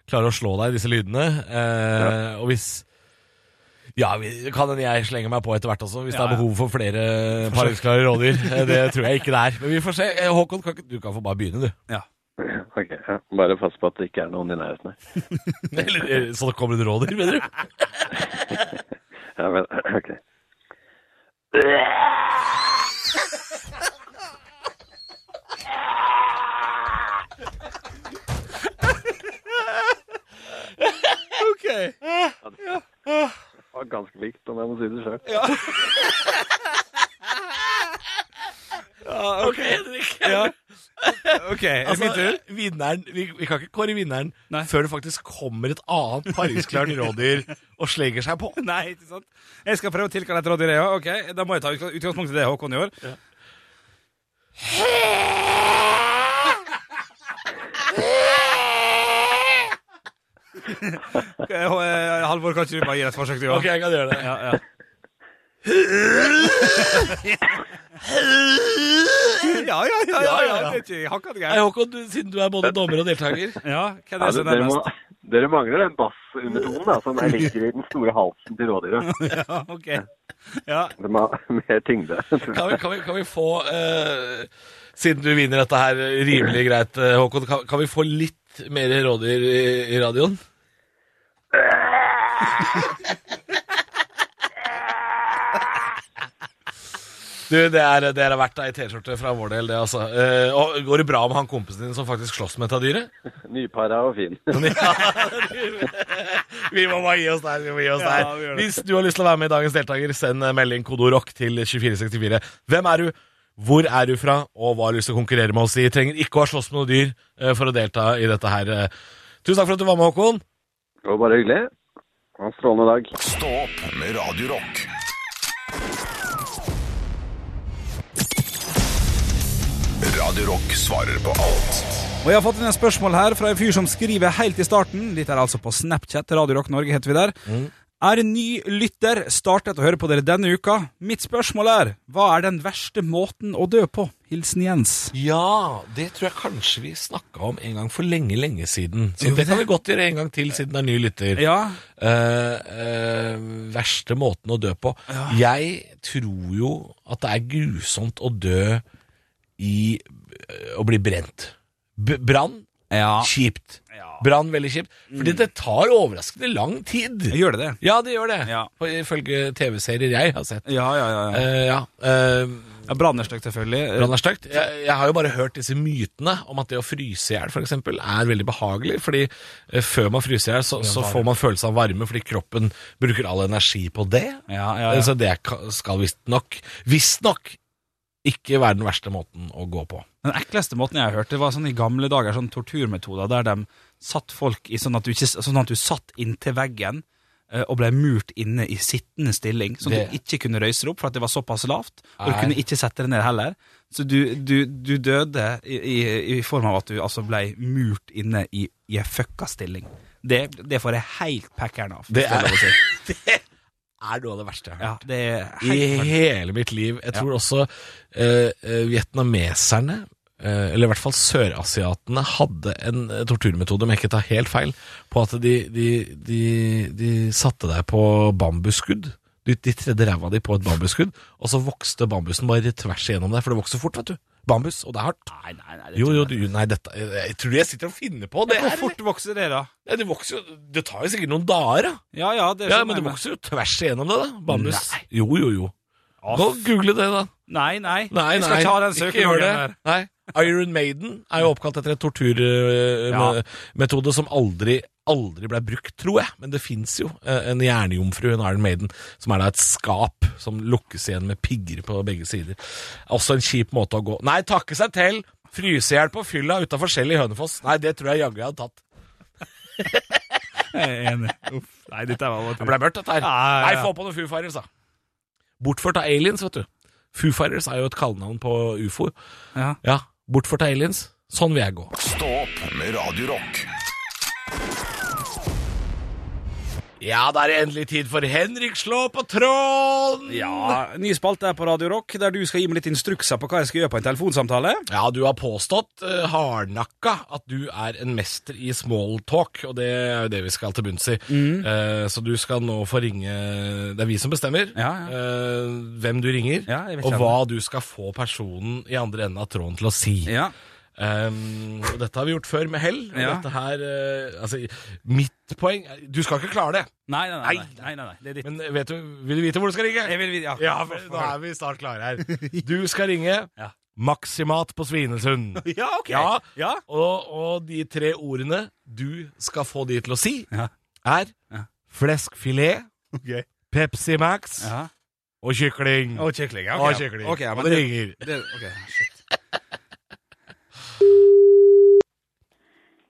S3: klarer å slå deg i disse lydene. Eh, Og hvis ja, vi, kan hende jeg slenger meg på etter hvert også, hvis
S4: Ja,
S3: det er
S4: ja.
S3: behov for flere paringsklare rådyr. Eh, Det tror jeg ikke det er. Men vi får se. Eh, Håkon, kan ikke, du kan få bare begynne, du.
S6: Ok, ja. Bare pass på at det ikke er noen i nærheten her.
S3: Eller, eh, så det kommer det rådyr, mener du?
S6: Ja, men, ok.
S4: Ok.
S6: Det var ganske likt, om jeg må si det sjøl.
S3: Ok, Henrik.
S4: Ja. Ok, er det
S3: Altså,
S4: min tur?
S3: Vinneren, vi, vi kan ikke kåre vinneren
S4: Nei.
S3: før det faktisk kommer et annet paringsklart rådyr og slenger seg på.
S4: Nei, ikke sant? Jeg skal prøve å tilkalle et rådyr, jeg òg. Ok, da må jeg ta utgang- utgangspunkt i det Håkon gjør. Ok, eh, Halvor, kan ikke du bare gi det et forsøk, du òg?
S3: Ok, jeg kan gjøre det.
S4: Ja, ja. Ja, ja, ja, ja, ja. Det er ikke hakket
S3: Nei,
S4: gærent.
S3: Håkon, du, siden du er både dommer og deltaker
S4: Ja, hvem er
S6: Ja,
S4: det som er
S6: dere, må,
S4: nærmest?
S6: Dere mangler den bassundertonen da, som er ligger i den store halsen til rådyret.
S4: Ja, ok. Ja,
S6: Den har mer tyngde.
S3: Kan vi, kan vi, kan vi få eh, Siden du vinner dette her rimelig greit, eh, Håkon, kan, kan vi få litt mer rådyr i, i radioen? Du, det er, det er verdt ei T-skjorte fra vår del, det, altså. Eh, og går det bra med han kompisen din som faktisk slåss med dette dyret?
S6: Nypara og fin.
S3: Vi må bare gi oss der. Vi må gi oss
S4: Ja, vi
S3: der.
S4: gjør det.
S3: Hvis du har lyst til å være med i dagens deltaker, send eh, melding kodeord rock til 2464. Hvem er du? Hvor er du fra, og hva har du lyst til å konkurrere med oss i? Trenger ikke å ha slåss med noe dyr eh, for å delta i dette her. eh. Tusen takk for at du var med, Håkon.
S6: Det var bare hyggelig. Ha en strålende dag.
S1: Stå opp med Radio Rock. Radio Rock svarer på alt.
S4: Og jeg har fått inn et spørsmål her fra en fyr som skriver helt i starten. Dette er altså på Snapchat. Radio Rock Norge heter vi der. Er en ny lytter startet å høre på dere denne uka? Mitt spørsmål er hva er den verste måten å dø på? Hilsen Jens.
S3: Ja, det tror jeg kanskje vi snakka om en gang for lenge, lenge siden. Så det kan vi godt gjøre en gang til, siden det er ny lytter.
S4: Ja,
S3: Eh, eh, verste måten å dø på. Jeg tror jo at det er grusomt å dø i eh, å bli brent. B brann
S4: Ja. Mm.
S3: kjipt.
S4: Ja.
S3: Brann veldig kjipt. Fordi det tar overraskende lang tid.
S4: gjør det det?
S3: Ja, det gjør det.
S4: Ja.
S3: På- Ifølge TV-serier jeg har sett.
S4: Ja, ja, ja. ja.
S3: Eh, ja. Eh,
S4: ja Brannestøk, selvfølgelig.
S3: brann er stygt. Jeg, jeg har jo bare hørt disse mytene om at det å fryse i hjel f.eks. er veldig behagelig. Fordi eh, før man fryser i hjel, så, så får man følelse av varme fordi kroppen bruker all energi på det.
S4: Ja, ja, ja.
S3: Så det ka- skal visstnok Visstnok ikke være den verste måten å gå på.
S4: Den ekleste måten jeg har hørt, det var sånn i gamle dager, sånn torturmetoder der de satt folk i sånn at du, ikke, sånn at du satt inntil veggen eh, og ble murt inne i sittende stilling, sånn at du
S3: Det-
S4: ikke kunne røyse deg opp for at det var såpass lavt, og du
S3: Nei.
S4: kunne ikke sette deg ned heller. Så du, du, du døde i, i, i form av at du altså ble murt inne i, i en fucka stilling. Det, det får jeg helt packeren av.
S3: Det
S4: hvis
S3: er,
S4: lov å si.
S3: det er noe av det verste jeg har hørt.
S4: Ja, det er
S3: I
S4: helt
S3: hele mitt liv. Jeg tror også eh, eh, vietnameserne, eh, eller i hvert fall sørasiatene, hadde en eh, torturmetode, om jeg ikke tar helt feil, på at de, de, de, de satte deg på bambusskudd. De, de tredde ræva di på et bambusskudd, og så vokste bambusen bare tvers igjennom deg, for det vokser fort, vet du. Bambus, og det er hardt.
S4: Nei, nei, nei. det
S3: Jo,
S4: tror
S3: jo,
S4: jeg
S3: du, nei, dette Jeg jeg tror jeg sitter og finner på det
S4: ikke.
S3: her.
S4: Hvor fort vokser det, da?
S3: Ja, det vokser jo Det tar jo sikkert noen dager, da.
S4: Ja, ja, det
S3: Ja,
S4: skjønner
S3: men
S4: jeg
S3: det
S4: med.
S3: vokser jo tvers igjennom det, da. Bambus.
S4: Nei.
S3: Jo, jo, jo.
S4: Å,
S3: Gå og google det, da.
S4: Nei, nei.
S3: Nei,
S4: Jeg skal
S3: nei,
S4: ikke ha den
S3: ikke gjør
S4: søkeordenen
S3: det.
S4: her.
S3: Nei. Iron Maiden er jo oppkalt etter en
S4: Ja.
S3: torturmetode som aldri Aldri ble brukt, tror jeg, men det fins jo eh, en jernjomfru, en Iron Maiden, som er da et skap som lukkes igjen med pigger på begge sider. Også en kjip måte å gå Nei, takke seg til! Fryse i hjel på fylla utafor Skjell i Hønefoss. Nei, det tror jeg jaggu jeg hadde tatt.
S4: Jeg er enig. Uff, nei, dette var
S3: Det
S4: bare
S3: ble mørkt, dette her.
S4: Ja, ja, ja.
S3: Nei, få på noen Foo Fighters, da. Bortført av aliens, vet du. Foo Fighters er jo et kallenavn på ufo.
S4: Ja.
S3: Ja, bortført av aliens. Sånn vil jeg gå.
S1: Stå opp med Radio Rock.
S3: Ja, da er det endelig tid for Henrik slå på tråden!
S4: Ja, ny spalte her på Radio Rock, der du skal gi meg litt instrukser på hva jeg skal gjøre på en telefonsamtale.
S3: Ja, du har påstått eh, hardnakka at du er en mester i smalltalk, og det er jo det vi skal til bunns i.
S4: Mm.
S3: Eh, så du skal nå få ringe Det er vi som bestemmer
S4: Ja, ja.
S3: eh, hvem du ringer,
S4: Ja, jeg vet
S3: og
S4: ikke
S3: hva du skal få personen i andre enden av tråden til å si.
S4: Ja.
S3: Um, og dette har vi gjort før med hell. og
S4: Ja.
S3: Dette her eh, Altså, mitt poeng er- Du skal ikke klare det,
S4: Nei, nei, nei. nei,
S3: Nei.
S4: nei, nei, nei. Det er ditt.
S3: men vet du, vil du vite hvor du skal ringe?
S4: Jeg vil, ja.
S3: Ja, for nå er vi snart klare her. Du skal ringe
S4: Ja.
S3: Maximat på Svinesund.
S4: ja, ok.
S3: Ja,
S4: Ja.
S3: og, og de tre ordene du skal få de til å si,
S4: Ja.
S3: er
S4: Ja.
S3: fleskfilet, Pepsi Max
S4: Ja.
S3: og kykling.
S4: Og kykling. ja,
S3: Og
S4: Ok,
S3: kykling.
S4: Ok, ja, men
S3: og
S4: det,
S3: ringer.
S4: det, ok, shit.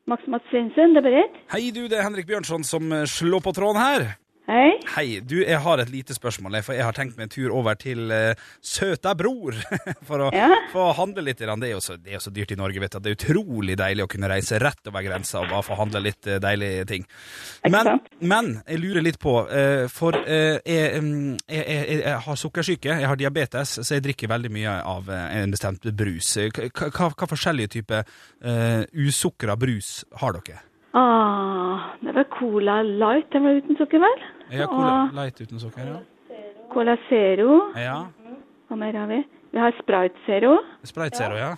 S7: Max Matsensen, det er Berit.
S4: Hei du, det er Henrik Bjørnson som eh, slår på tråden her.
S7: Hei.
S4: Hei, du, jeg har et lite spørsmål, jeg, for jeg har tenkt meg en tur over til eh, søta bror, for å
S7: Ja.
S4: få handle litt. grann. Det er, jo så, det er jo så dyrt i Norge, vet du, at det er utrolig deilig å kunne reise rett over grensa og bare få handle litt eh, deilige ting.
S7: Ikke
S4: Men,
S7: sant?
S4: men jeg lurer litt på, eh, for eh, jeg, mm, jeg, jeg, jeg har sukkersyke, jeg har diabetes, så jeg drikker veldig mye av eh, en bestemt eh, brus. Hva, hva, hva forskjellige typer eh, usukra brus har dere?
S7: Ah, det var Cola Light. Den var uten sukker, vel?
S4: Ja, cola light uten sukker, ja.
S7: Og Cola Zero.
S4: ja.
S7: Hva mer har vi? Vi har Sprite Zero.
S4: Sprite Zero, ja.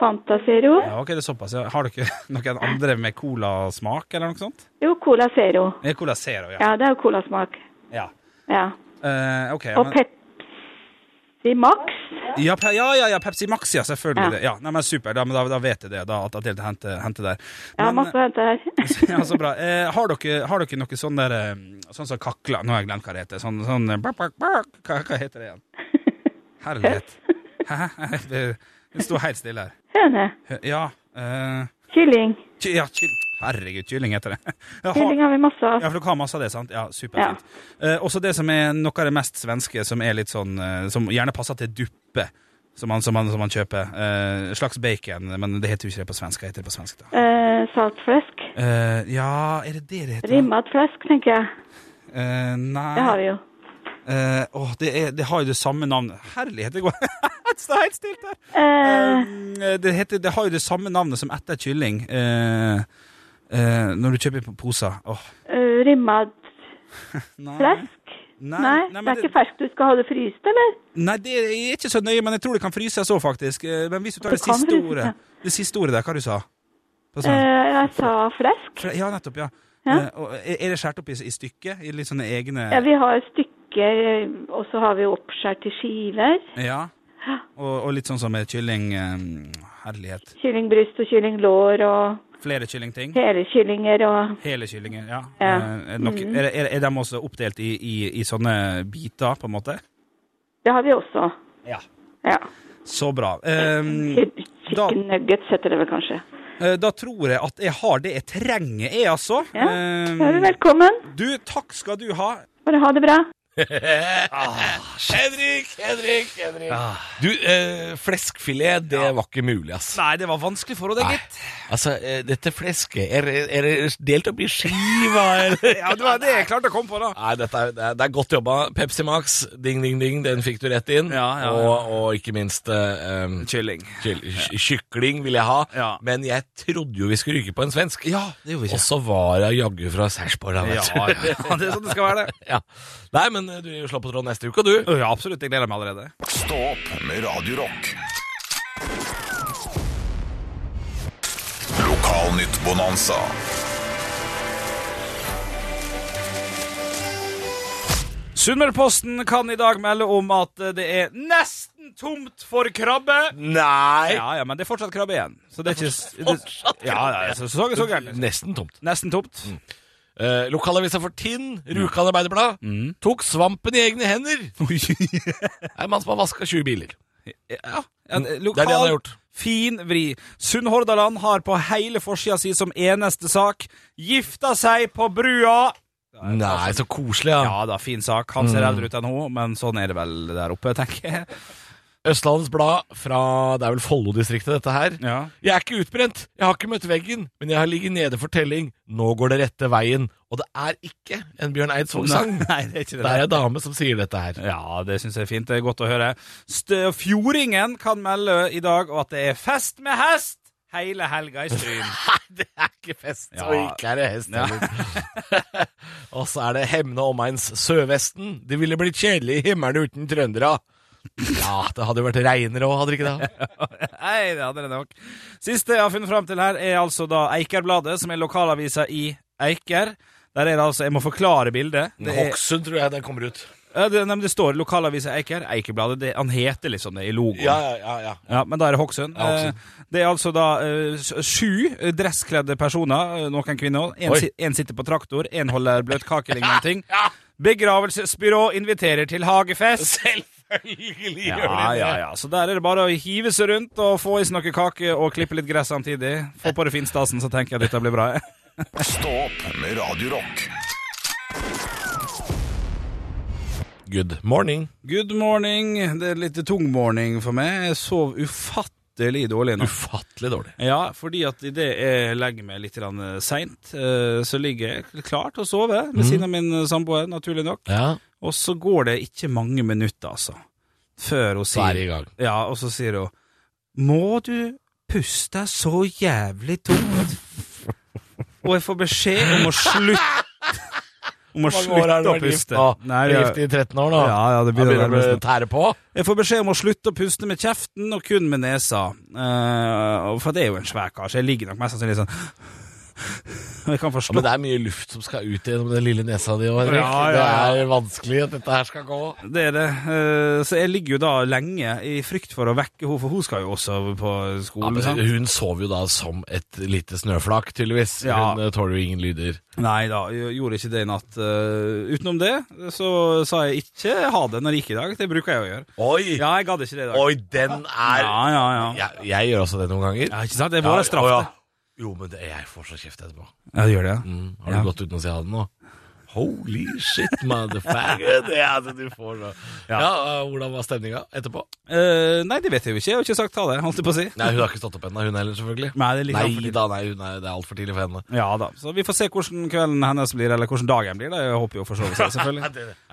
S7: Fanta Zero.
S4: ja. Ok, det er såpass. Ja. Har dere noen andre med colasmak eller noe sånt?
S7: Jo, Cola Zero.
S4: Ja, Cola Zero, ja.
S7: Ja, det er jo colasmak.
S4: ja.
S7: Ja.
S4: Eh, ok, ja,
S7: Og
S4: men,
S7: Pepsi Max.
S4: ja, pe- ja, ja, ja, Pepsi Max, ja, selvfølgelig.
S7: Ja.
S4: det. Ja, nei, men Super, da, men da, da vet jeg det, da, at at det er hente, hente der.
S7: Ja,
S4: Men,
S7: masse å hente her.
S4: ja, så bra. Eh, har, dere, har dere noe sånn der eh, Sånn som kakla Nå har jeg glemt hva det heter. Sånn, sånn eh, bark, bark, bark. Hva, hva heter det igjen? Herlighet. Hæ? Det- Det sto helt stille her.
S7: Høne.
S4: Hø- Ja eh,
S7: Kylling.
S4: ky- Ja, kyll... Herregud, kylling heter det. Ja, har-
S7: Kylling har vi masse av.
S4: ja, for dere har masse av det, sant? Ja, superfint. Eh, også det som er noe av det mest svenske, som er litt sånn eh, Som gjerne passer til duppe, som man, som man, som man kjøper. Eh, slags bacon, men det heter jo ikke det på svensk. Hva heter det på svensk, da?
S7: Eh, saltflesk.
S4: Eh, ja, er det det det heter?
S7: Rimmat flesk, tenker jeg.
S4: Eh, nei
S7: Det har vi jo.
S4: Eh, åh, det, er, det har jo det samme navnet Herlighet, det går Det står helt stilt her!
S7: Eh,
S4: Eh, det, heter, det har jo det samme navnet som etter kylling eh, eh, når du kjøper på poser. Åh,
S7: eh, rimmat
S4: nei.
S7: flesk.
S4: Nei,
S7: Nei,
S4: nei, men
S7: det er
S4: det-
S7: ikke ferskt. Du skal ha det fryst, eller?
S4: Nei, det er ikke så nøye, men jeg tror det kan fryses òg, faktisk. Eh, Men hvis du tar
S7: Det
S4: det,
S7: kan
S4: siste
S7: fryses,
S4: ordet Det siste ordet der, hva du sa På sånn-
S7: Eh, jeg sa flesk.
S4: Ja, nettopp, ja.
S7: Eh, Ja.
S4: Eh, og er er det skåret opp i, i stykker? I litt sånne egne
S7: Ja, vi har stykker, eh, og så har vi oppskjært i skiver.
S4: Ja. Og, og litt sånn som med kylling eh, Herlighet.
S7: Kyllingbryst og kyllinglår og
S4: Flere kyllingting?
S7: hele kyllinger og
S4: Hele kyllingen, ja.
S7: Ja. Mm.
S4: Eh, Er, nok, er, er, er de også oppdelt i, i, i sånne biter, på en måte?
S7: Det har vi også.
S4: Ja.
S7: Ja.
S4: Så bra. Ehm,
S7: Chick-
S4: da,
S7: Chicken nuggets heter det vel kanskje.
S4: eh, da tror jeg at jeg har det jeg trenger, jeg, altså.
S7: Ja,
S4: Ehm,
S7: Da er du velkommen.
S4: du, takk skal du ha.
S7: Bare ha det bra.
S3: Henrik, Henrik, Henrik. Ah. Du, eh, fleskfilet, det var ikke mulig, ass.
S4: Nei, det var vanskelig for henne,
S3: Nei.
S4: gitt.
S3: Altså, eh, dette flesket, er, er det delt opp i skiva, eller?
S4: Ja, det var det jeg klarte å komme på, da.
S3: Nei, dette er, det, er, det er godt jobba. Pepsi Max, ding, ding, ding, den fikk du rett inn.
S4: Ja, ja, ja.
S3: Og, og ikke minst eh, em,
S4: Kylling.
S3: kyll- ky- kykling vil jeg ha.
S4: Ja.
S3: Men jeg trodde jo vi skulle ryke på en svensk.
S4: Ja, det gjorde
S3: Og
S4: vi ikke.
S3: så var jeg jaggu fra Sarpsborg. da,
S4: Ja,
S3: vet
S4: ja, ja, det er sånn det skal være, det.
S3: du. ja. Nei, men eh, du slår på tråden neste uke, du.
S4: Ja, absolutt. Jeg gleder meg allerede.
S1: Stå opp med Radio Rock. Lokalnytt Bonanza.
S4: Sunnmørposten kan i dag melde om at eh, det er nesten tomt for krabbe.
S3: Nei!
S4: Ja, ja, men det er fortsatt krabbe igjen. Så det er Mm. ikke
S3: fortsatt
S4: Ja, ja, så, så, så gærent.
S3: Nesten tomt.
S4: Nesten tomt.
S3: Eh, lokalavisa for Tinn, Rjukan Arbeiderblad, tok svampen i egne hender. Det er en mann som har vaska 20 biler.
S4: Ja, en eh,
S3: Mm. Det er det han har
S4: lokal
S3: gjort.
S4: fin vri. Sunnhordaland har på hele forsida si som eneste sak 'Gifta seg på brua'.
S3: Nei, så koselig, ja. Mm.
S4: Ja da, fin sak. Han ser eldre ut enn hun, men sånn er det vel der oppe, tenker jeg.
S3: Østlandets Blad fra Det er vel Follo-distriktet, dette her.
S4: Ja.
S3: Jeg er ikke utbrent, jeg har ikke møtt veggen, men jeg har ligget nede for telling. Nå går det rette veien. Og det er ikke en Bjørn Eidsvåg-sang.
S4: Nei, det er ikke det.
S3: Det er ei dame som sier dette her.
S4: Ja, det syns jeg er fint. Det er godt å høre. Stø Fjordingen kan melde i dag at det er fest med hest hele helga i Stryn.
S3: Nei, det er ikke fest,
S4: Ja.
S3: og ikke er det hest heller. og så er det Hemne omegns Sørvesten. Det ville blitt kjedelig i himmelen uten trøndere. Ja, det hadde jo vært regnere òg, hadde det ikke det?
S4: Nei, det hadde det nok. Siste jeg har funnet fram til her, er altså da Eikerbladet, som er lokalavisa i Eiker. Der er det altså Jeg må forklare bildet. Det, er,
S3: Hokksund tror jeg den kommer ut.
S4: ja, det, nei, men det står lokalavisa Eiker. Eikerbladet. Det, han heter liksom det i logoen.
S3: Ja, ja, ja, ja.
S4: Ja, men da er det Hokksund.
S3: Ja, Hokksund.
S4: Eh, det er altså da eh, s- sju eh, dresskledde personer, eh, noen kvinner. En,
S3: Oi.
S4: si, en sitter på traktor, en holder bløtkake lignende ting. Begravelsesbyrå inviterer til hagefest.
S3: Selvfølgelig gjør de
S4: Ja,
S3: det.
S4: ja, ja. Så der er det bare å hive seg rundt og få i seg noe kake og klippe litt gress samtidig. Få på det finstasen, så tenker jeg dette blir bra.
S1: Stå opp med Radio Rock.
S3: Good morning.
S4: Good morning. Det er litt tung morning for meg. Jeg sov ufattelig dårlig nå.
S3: Ufattelig dårlig.
S4: Ja, fordi at idet jeg legger meg litt grann seint, eh, så ligger jeg klar til å sove ved
S3: Mhm.
S4: siden av min eh, samboer, naturlig nok.
S3: Ja,
S4: Og så går det ikke mange minutter, altså, før hun
S3: så er det
S4: sier
S3: i gang.
S4: Ja, og så sier hun Må du puste så jævlig tungt? og jeg får beskjed om å slutte Om å
S3: Hvor mange år har du
S4: slutte å
S3: vært gift
S4: puste.
S3: da?
S4: Nei,
S3: du er
S4: jeg-
S3: gift i 13 år nå?
S4: Ja, ja, det
S3: Da
S4: begynner å
S3: begynner
S4: nærme
S3: du å
S4: seg.
S3: tære på?
S4: Jeg får beskjed om å slutte å puste med kjeften og kun med nesa. Eh, og for det er jo en svær kar, så jeg ligger nok mest sannsynlig sånn Og Jeg kan
S3: Ja,
S4: forstå
S3: men det er mye luft som skal ut gjennom den lille nesa di. og Henrik.
S4: Ja, ja,
S3: Det er vanskelig at dette her skal gå.
S4: Det er det. Eh, Så jeg ligger jo da lenge i frykt for å vekke henne, for hun skal jo også på
S3: Ja,
S4: skolen.
S3: men
S4: sant?
S3: hun sov jo da som et lite snøflak, tydeligvis.
S4: Ja.
S3: Hun eh, tåler jo ingen lyder.
S4: Nei da, jeg gjorde ikke det i natt. Eh, utenom det så sa jeg ikke ha det når jeg gikk i dag. Det bruker jeg å gjøre.
S3: Oi!
S4: Ja, jeg gadd ikke det i dag.
S3: Oi, den er
S4: Ja, ja, ja.
S3: jeg, jeg gjør også det noen ganger.
S4: ja ikke sant? Det er vår straff.
S3: å,
S4: det.
S3: ja. Jo, men det, jeg får så kjeft etterpå.
S4: Ja, det gjør det. ja.
S3: Mm, har du
S4: Ja.
S3: gått uten å si ha det nå? Holy shit, motherfucker! Det er det du får nå. Ja,
S4: Ja.
S3: eh, Hvordan var stemninga etterpå?
S4: Eh, nei, det vet jeg jo ikke. Jeg har ikke sagt ha det, holdt jeg på å si.
S3: Nei, Hun har ikke stått opp ennå, hun heller, selvfølgelig.
S4: Nei, det er litt
S3: Nei
S4: altfor tidlig.
S3: da, nei, hun er, det er altfor tidlig for henne.
S4: Ja da. Så vi får se hvordan kvelden hennes blir, eller hvordan dagen blir. da Jeg håper jo for så vidt det, selvfølgelig.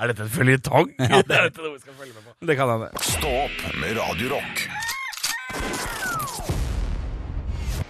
S3: Er dette en føljetong? Ja, det er dette noe vi skal følge med på.
S4: Det kan hende.
S1: Stå opp med Radio Rock.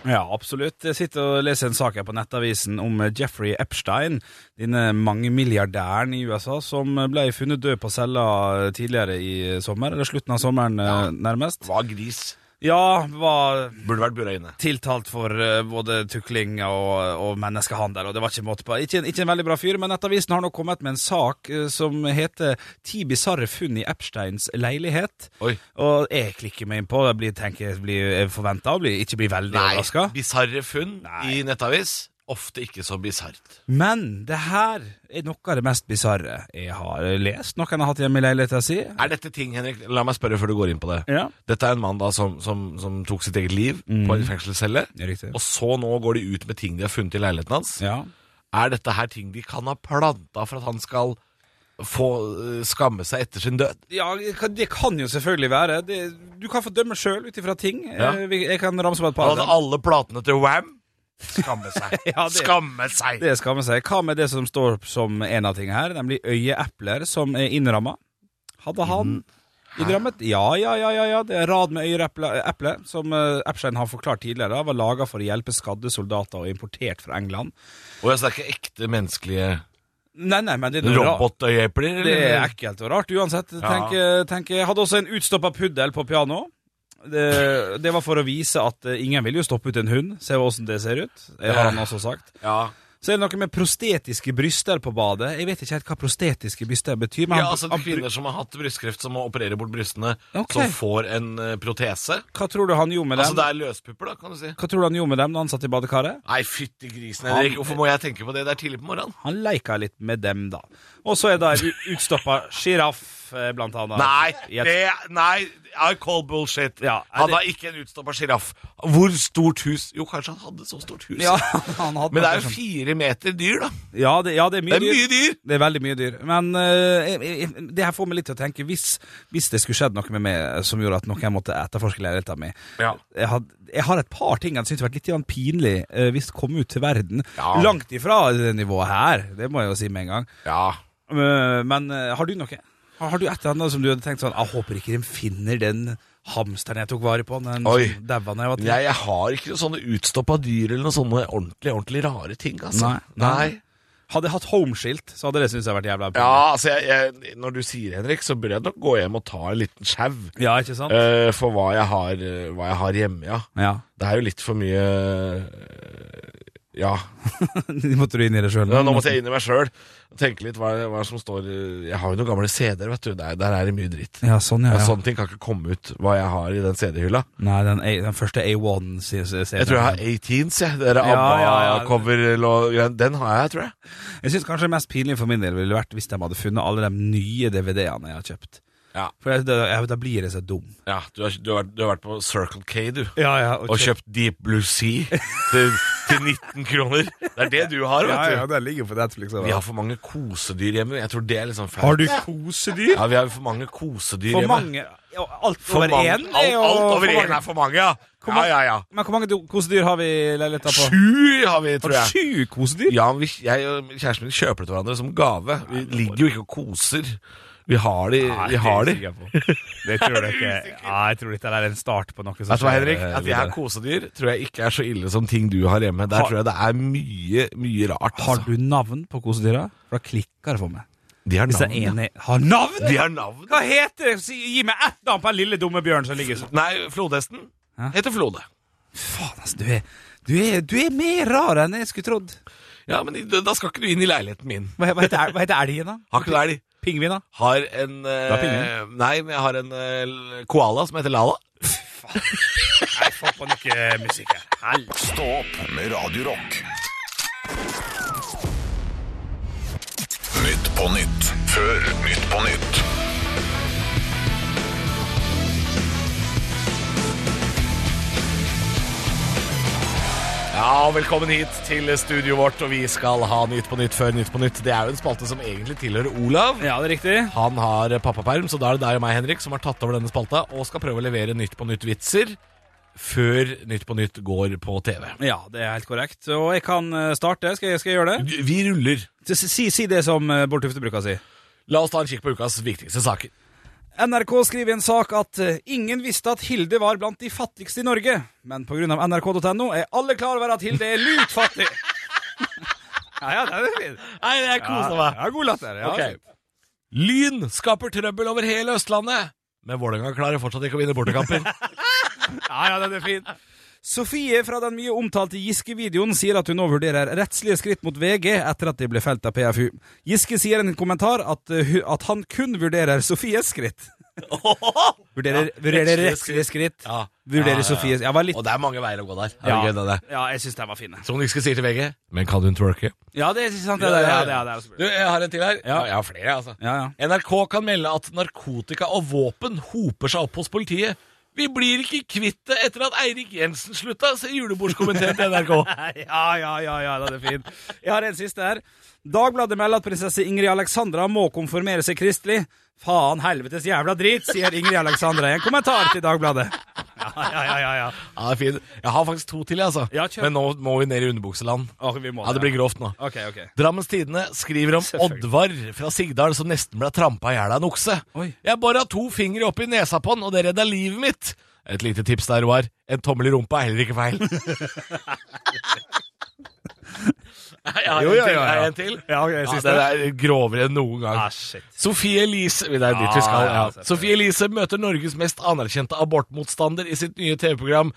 S4: Ja, absolutt. Jeg sitter og leser en sak her på Nettavisen om Jeffrey Epstein, denne mangemilliardæren i USA som ble funnet død på cella tidligere i sommer, eller slutten av sommeren eh, nærmest.
S3: Var gris.
S4: Ja, var
S3: Burde vært bura inne.
S4: tiltalt for eh, både tukling og, og menneskehandel, og det var ikke måte på. Ikke, en- ikke en veldig bra fyr, men Nettavisen har nå kommet med en sak eh, som heter 'Ti bisarre funn i Epsteins leilighet'.
S3: Oi.
S4: Og jeg klikker meg inn på det. Blir, tenker jeg blir jeg forventa å bli, ikke bli veldig overraska.
S3: Bisarre funn
S4: Nei.
S3: i nettavis. Ofte ikke så bisart.
S4: Men det her er noe av det mest bisarre jeg har lest. Noen har hatt hjemme i leiligheta si.
S3: Er dette ting, Henrik La meg spørre før du går inn på det.
S4: Ja.
S3: Dette er en mann da som, som, som tok sitt eget liv på en fengselscelle.
S4: Det er riktig.
S3: Og så nå går de ut med ting de har funnet i leiligheten hans.
S4: Ja.
S3: Er dette her ting de kan ha planta for at han skal få eh, skamme seg etter sin død?
S4: Ja, det kan- det kan jo selvfølgelig være. Det, du kan få dømme sjøl ut ifra ting.
S3: Ja.
S4: Eh, vi- Jeg kan ramse opp et par.
S3: Han
S4: av
S3: hadde
S4: dem.
S3: alle platene til Wham! Skamme seg.
S4: Ja, det-
S3: Skamme seg!
S4: Det skal vi si. Hva med det som står som en av tingene her, nemlig øyeepler som er innramma? Hadde han innrammet? Ja, ja, ja, ja, ja. Det er rad med øyeepler, som eh, Epstein har forklart tidligere, var laga for å hjelpe skadde soldater og importert fra England.
S3: Og jeg snakker ekte menneskelige
S4: Nei, nei, men det er noe ra-
S3: robotøyeepler.
S4: Det
S3: eller?
S4: er ekkelt og rart uansett.
S3: Ja.
S4: Tenk, tenk, jeg hadde også en utstoppa puddel på piano. Det, det var for å vise at eh, ingen vil jo stoppe ut en hund. Se åssen det ser ut. Det har han også sagt.
S3: Ja.
S4: Så er det noe med prostetiske bryster på badet. Jeg vet ikke helt hva prostetiske bryster betyr. Men
S3: ja,
S4: han,
S3: altså
S4: han,
S3: Kvinner som har hatt brystkreft, som må operere bort brystene,
S4: Ok.
S3: som får en eh, protese.
S4: Hva tror du han gjorde med dem?
S3: Altså Det er løspupper, da, kan du si.
S4: Hva tror du han gjorde med dem da han satt i badekaret?
S3: Nei, fytti grisen,
S4: Han-
S3: Henrik. Hvorfor må jeg tenke på det? Det er tidlig på morgenen.
S4: Han leika litt med dem, da. Og så er det en u- utstoppa sjiraff, eh, blant annet.
S3: Nei,
S4: I et-
S3: det, nei, I call bullshit.
S4: Ja, er
S3: han
S4: det-
S3: var ikke en utstoppa sjiraff. Hvor stort hus? Jo, kanskje han hadde så stort hus.
S4: ja, han hadde
S3: Men det er
S4: noe
S3: jo
S4: sånt.
S3: fire meter dyr, da.
S4: ja, det, ja, det er mye
S3: Det er
S4: dyr.
S3: mye dyr!
S4: Det er veldig mye dyr. Men eh, jeg, jeg, det her får meg litt til å tenke Hvis, hvis det skulle skjedd noe med meg eh, som gjorde at noen måtte etterforske leiligheten min
S3: Ja.
S4: jeg, had, jeg har et par ting jeg syns har vært litt grann pinlig eh, hvis det kom ut til verden.
S3: Ja.
S4: Langt ifra det nivået her, det må jeg jo si med en gang. Eh, men eh, har du noe? Har, har du et eller annet som du hadde tenkt sånn Jeg håper ikke de finner den hamsteren jeg tok vare på, den
S3: Oi.
S4: som daua da jeg var ti.
S3: Jeg, jeg har ikke noen sånne utstoppa dyr eller noen sånne ordentlig ordentlig rare ting. altså
S4: Nei. Hadde jeg hatt homeskilt, så hadde det syntes jeg vært jævla pinlig.
S3: Ja, altså jeg, jeg, Når du sier Henrik, så burde jeg nok gå hjem og ta en liten sjau
S4: Ja. ikke sant?
S3: eh, for hva jeg, har, eh, hva jeg har hjemme, ja.
S4: ja.
S3: Det er jo litt for mye eh, Ja.
S4: Måtte du inn i det sjøl?
S3: Nå, nå måtte jeg inn i meg sjøl og tenke litt hva, hva som står eh, Jeg har jo noen gamle CD-er, vet du. Der, der er det mye dritt.
S4: Ja, sånn, ja.
S3: Og
S4: ja.
S3: Sånne ting kan ikke komme ut hva jeg har i den CD-hylla.
S4: Nei, den, A, den første A1 sier
S3: Jeg tror jeg har 18s, jeg. Det der
S4: Ja, ja, ja.
S3: ABBA-cover Den har jeg, tror jeg.
S4: Jeg syns kanskje det mest pinlige for min del ville vært hvis de hadde funnet alle de nye DVD-ene jeg har kjøpt.
S3: Ja.
S4: For jeg, da, jeg, da blir jeg så dum.
S3: Ja, du har, du har, vært- du har vært på Circle K, du.
S4: Ja, ja,
S3: Og kjøpt Deep Blue Sea til, til 19 kroner. Det er det du har,
S4: Ja, ja,
S3: vet du.
S4: den ligger på Netflix.
S3: Vi har for mange kosedyr hjemme. Jeg tror det er litt sånn flaut.
S4: har du kosedyr?
S3: Ja, vi har for mange kosedyr
S4: For
S3: hjemme.
S4: mange. ja, Alt
S3: For
S4: over
S3: mange-
S4: én?
S3: alt,
S4: er jo-
S3: alt over
S4: for
S3: én
S4: mange.
S3: er for mange, ja.
S4: Hvor
S3: Ja,
S4: mange-
S3: ja, ja.
S4: Men hvor mange do- kosedyr har vi i leiligheta på?
S3: Sju har vi,
S4: Har
S3: tror
S4: du
S3: jeg.
S4: Sju kosedyr?
S3: Ja, men vi, jeg og kjæresten min kjøper det til hverandre som gave. Vi ligger jo ikke og koser. Vi har de.
S4: Nei,
S3: Vi har de.
S4: det er jeg sikker på. Det tror jeg ikke. Nei, jeg tror ikke det er en start på noe som
S3: Vet du hva,
S4: skjer, eh,
S3: Henrik? At jeg har
S4: videre.
S3: kosedyr, tror jeg ikke er så ille som ting du har hjemme. Der
S4: Har-
S3: tror jeg det er mye, mye rart. altså.
S4: Har du navn på kosedyra? For da klikker det for meg.
S3: De har
S4: Hvis det
S3: navn.
S4: er
S3: ja.
S4: en i Har navn?!
S3: De har navn.
S4: Hva heter det? Si- Gi meg ett navn på den lille dumme bjørnen som ligger sånn.
S3: Nei, flodhesten
S4: Hæ?
S3: heter Flode.
S4: Faen, altså. Du er, du, er, du er mer rar enn jeg skulle trodd.
S3: Ja, men i- da skal ikke du inn i leiligheten min.
S4: Hva, hva, heter, hva heter elgen, da?
S3: Har ikke du elg?
S4: Pingvin, da?
S3: Har en
S4: Du
S3: eh,
S4: har pingvin.
S3: Nei, men jeg har en eh, koala som heter Lala.
S4: Nei, få på noe musikk her.
S1: Stå opp med Radio Rock. Nytt på nytt før Nytt på nytt.
S3: Ja, og velkommen hit til studioet vårt, og vi skal ha Nytt på nytt før Nytt på nytt. Det er jo en spalte som egentlig tilhører Olav.
S4: Ja, det er riktig.
S3: Han har pappaperm, så da er det deg og meg, Henrik, som har tatt over denne spalta og skal prøve å levere Nytt på nytt-vitser før Nytt på nytt går på TV.
S4: Ja, det er helt korrekt. Og jeg kan eh, starte. Skal jeg, skal jeg gjøre det?
S3: Vi ruller.
S4: Si, si, si det som eh, Bård Tufte bruker å si.
S3: La oss ta en kikk på ukas viktigste saker.
S4: NRK skriver i en sak at eh, ingen visste at Hilde var blant de fattigste i Norge, men pga. nrk.no er alle klar over at Hilde er lut fattig. ja, ja, det er fint.
S3: Nei, jeg koser meg.
S4: Ja, god latter. Ja.
S3: Ok. Lyn skaper trøbbel over hele Østlandet. Men Vålerenga klarer fortsatt ikke å vinne bortekamper.
S4: Ja, ja, den er fin. Sofie fra den mye omtalte Giske-videoen sier at hun nå vurderer rettslige skritt mot VG etter at de ble felt av PFU. Giske sier i en kommentar at, uh, hu- at han kun vurderer Sofies skritt. Vurderer, vurderer
S3: rettslige
S4: rettslige skritt.
S3: Ja. Ja, ja,
S4: Vurderer
S3: ja.
S4: Sofies Jeg var litt
S3: Og det er mange veier å gå der. Er
S4: Ja,
S3: det gøy, det der?
S4: ja jeg syns den var fin. jeg.
S3: Som Giske sier til VG Men kan hun twerke?
S4: Ja, det er sant. Det, er- ja, det, er- det er også
S3: Du, jeg har en til her.
S4: Ja.
S3: jeg har flere, altså.
S4: Ja, ja.
S3: NRK kan melde at narkotika og våpen hoper seg opp hos politiet. Vi blir ikke kvitt det etter at Eirik Jensen slutta, sier julebordskomiteen til NRK.
S4: Ja, ja, ja, ja, den er fin. Jeg har en siste her. Dagbladet melder at prinsesse Ingrid Alexandra må konformere seg kristelig. Faen helvetes jævla drit, sier Ingrid Alexandra i en kommentar til Dagbladet. Ja, ja, ja, ja. ja.
S3: Ja, det er fin. Jeg har faktisk to til, jeg, altså.
S4: Ja, kjør.
S3: Men nå må vi ned i underbukseland.
S4: Å, vi må
S3: Ja, det blir grovt nå.
S4: Ok, ok.
S3: Drammens Tidende skriver om
S4: Selvfølgelig.
S3: Oddvar fra Sigdal som nesten ble trampa i hjel av en okse.
S4: Oi.
S3: Jeg bora to fingre opp i nesa på han, og det redda livet mitt. Et lite tips der, Roar. En tommel i rumpa er heller ikke feil. Jeg har
S4: Jo,
S3: en
S4: jo,
S3: til, jeg
S4: jo,
S3: har
S4: ja.
S3: en til.
S4: Ja, ok,
S3: Ja,
S4: siste.
S3: den er grovere enn noen gang.
S4: Ah, shit.
S3: Sofie Elise Det er dit vi skal.
S4: Ja, ja,
S3: Ja.
S4: selvfølgelig.
S3: Sofie Elise møter Norges mest anerkjente abortmotstander i sitt nye TV-program.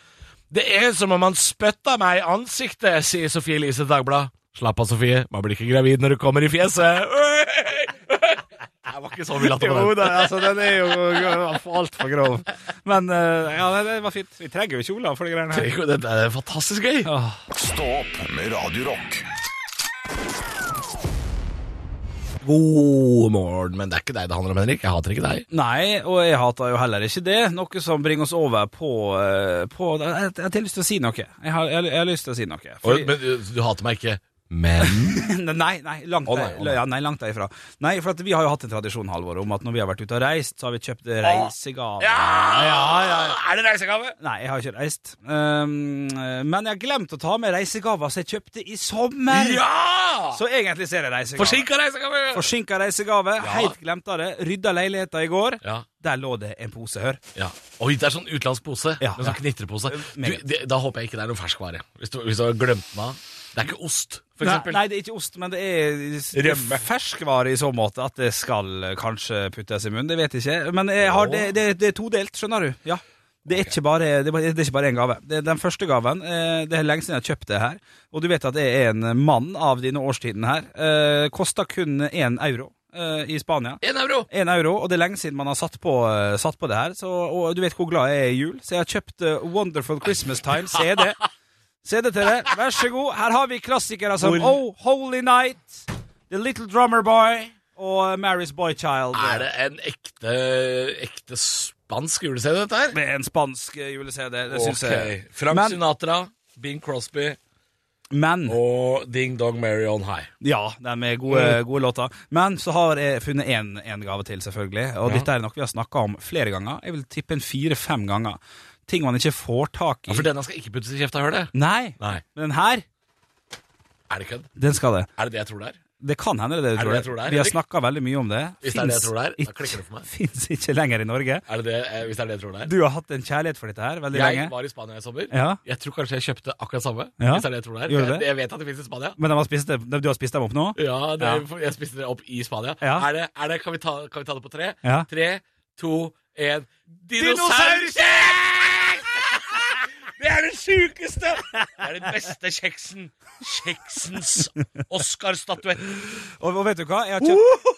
S3: Det er som om han spytta meg i ansiktet, sier Sofie Elise til Dagbladet. Slapp av, Sofie. Man blir ikke gravid når du kommer i fjeset. Det var ikke sånn vi latt det
S4: Jo
S3: være.
S4: da, altså, den er jo altfor grov. Men eh, ja, det, det var fint. Vi trenger jo ikke Olav for de greiene her.
S3: Det er fantastisk gøy.
S4: Åh.
S1: Stå opp med Radio Rock.
S3: God morgen. Men det er ikke deg det handler om, Henrik. Jeg hater ikke deg.
S4: Nei, og jeg hater jo heller ikke det. Noe som bringer oss over på, eh, på jeg, jeg har lyst til å si noe. Jeg har, jeg, jeg har lyst til å si noe. Fordi-
S3: Og, men eh, du, du hater meg ikke. Men
S4: Nei, nei, langt,
S3: Å, nei, å, nei.
S4: der- Ja, nei, langt derifra. Nei, for at vi har jo hatt en tradisjon, Halvor, om at når vi har vært ute og reist, så har vi kjøpt reisegaver.
S3: Er det reisegave?
S4: Nei, jeg har ikke reist. Um, men jeg har glemt å ta med reisegaver som jeg kjøpte i sommer.
S3: Ja!
S4: Så egentlig ser jeg reisegave.
S3: Forsinka reisegave!
S4: Forsinka reisegave. Helt glemt av det. Rydda leiligheta i går.
S3: Ja.
S4: Der lå det en pose, hør.
S3: Ja. Oi, det er sånn utenlandsk pose.
S4: Ja,
S3: men sånn
S4: ja.
S3: knitrepose. Du,
S4: Meget.
S3: det, da håper jeg ikke det er noe ferskvare. Hvis du, hvis du har glemt den av. Det er ikke ost, for
S4: Nei,
S3: eksempel.
S4: nei, det er ikke ost, men det er, det er
S3: Rømme.
S4: ferskvare i så måte at det skal eh, kanskje puttes i munnen. Det vet jeg ikke. Men jeg har, det, det, det er todelt, skjønner du. Ja. Det er ikke bare det er bare- det er ikke bare én gave. Det er den første gaven eh, Det er lenge siden jeg har kjøpt det her. Og du vet at jeg er en mann av dine årstiden her. Eh, Kosta kun én euro eh, i Spania.
S3: En euro!
S4: Én euro, og det er lenge siden man har satt på, eh, satt på det her. Så, og du vet hvor glad jeg er i jul, så jeg har kjøpt eh, Wonderful Christmas Time CD. CD til deg. Vær så god. Her har vi klassikere som Oh Holy Night, The Little Drummer Boy og Mary's Boy Child.
S3: Er det en ekte, ekte spansk jule-CD, dette her?
S4: Med en spansk eh, jule-CD. Det syns jeg.
S3: Ok. Frank
S4: Men-
S3: Sinatra, Bing Crosby
S4: Men
S3: og Mm. Ding Dong Mary On High.
S4: Ja, de er gode, gode låter. Men så har jeg funnet én gave til, selvfølgelig. Og dette er noe vi har snakka om flere ganger. Jeg vil tippe en fire-fem ganger. Ting man ikke får tak i.
S3: Ja, for denne skal ikke puttes i kjefta, hør det.
S4: Nei.
S3: Nei.
S4: Men den her,
S3: Er det kødd?
S4: den skal det.
S3: Er det det jeg tror det er?
S4: Det kan hende det er det
S3: Er
S4: du
S3: det det jeg tror
S4: tror. det
S3: det er,
S4: Vi har
S3: Henrik?
S4: snakka veldig mye om det.
S3: Hvis det er det jeg tror det er, da klikker det for meg.
S4: Fins ikke lenger i Norge.
S3: Er det det, eh, hvis det er det jeg tror det er?
S4: Du har hatt en kjærlighet for dette her veldig
S3: Jeg
S4: lenge.
S3: var i Spania i sommer.
S4: Ja.
S3: Jeg tror kanskje jeg kjøpte akkurat samme.
S4: Ja.
S3: Hvis det er det jeg tror det er.
S4: Gjorde du
S3: Jeg,
S4: det?
S3: jeg vet at det fins i Spania.
S4: Men de har spist det, du har spist dem opp nå?
S3: Ja, det,
S4: Ja.
S3: jeg spiste det opp i Spania.
S4: Ja.
S3: Er det, er det, kan, vi ta, kan vi ta det på tre?
S4: Ja.
S3: Tre, to, én
S4: Dinosaurkjeks!
S3: Det er den sjukeste! Det er den beste kjeksen. Kjeksens Oscar-statuetten.
S4: Og, og vet du hva? Jeg har kjøpt,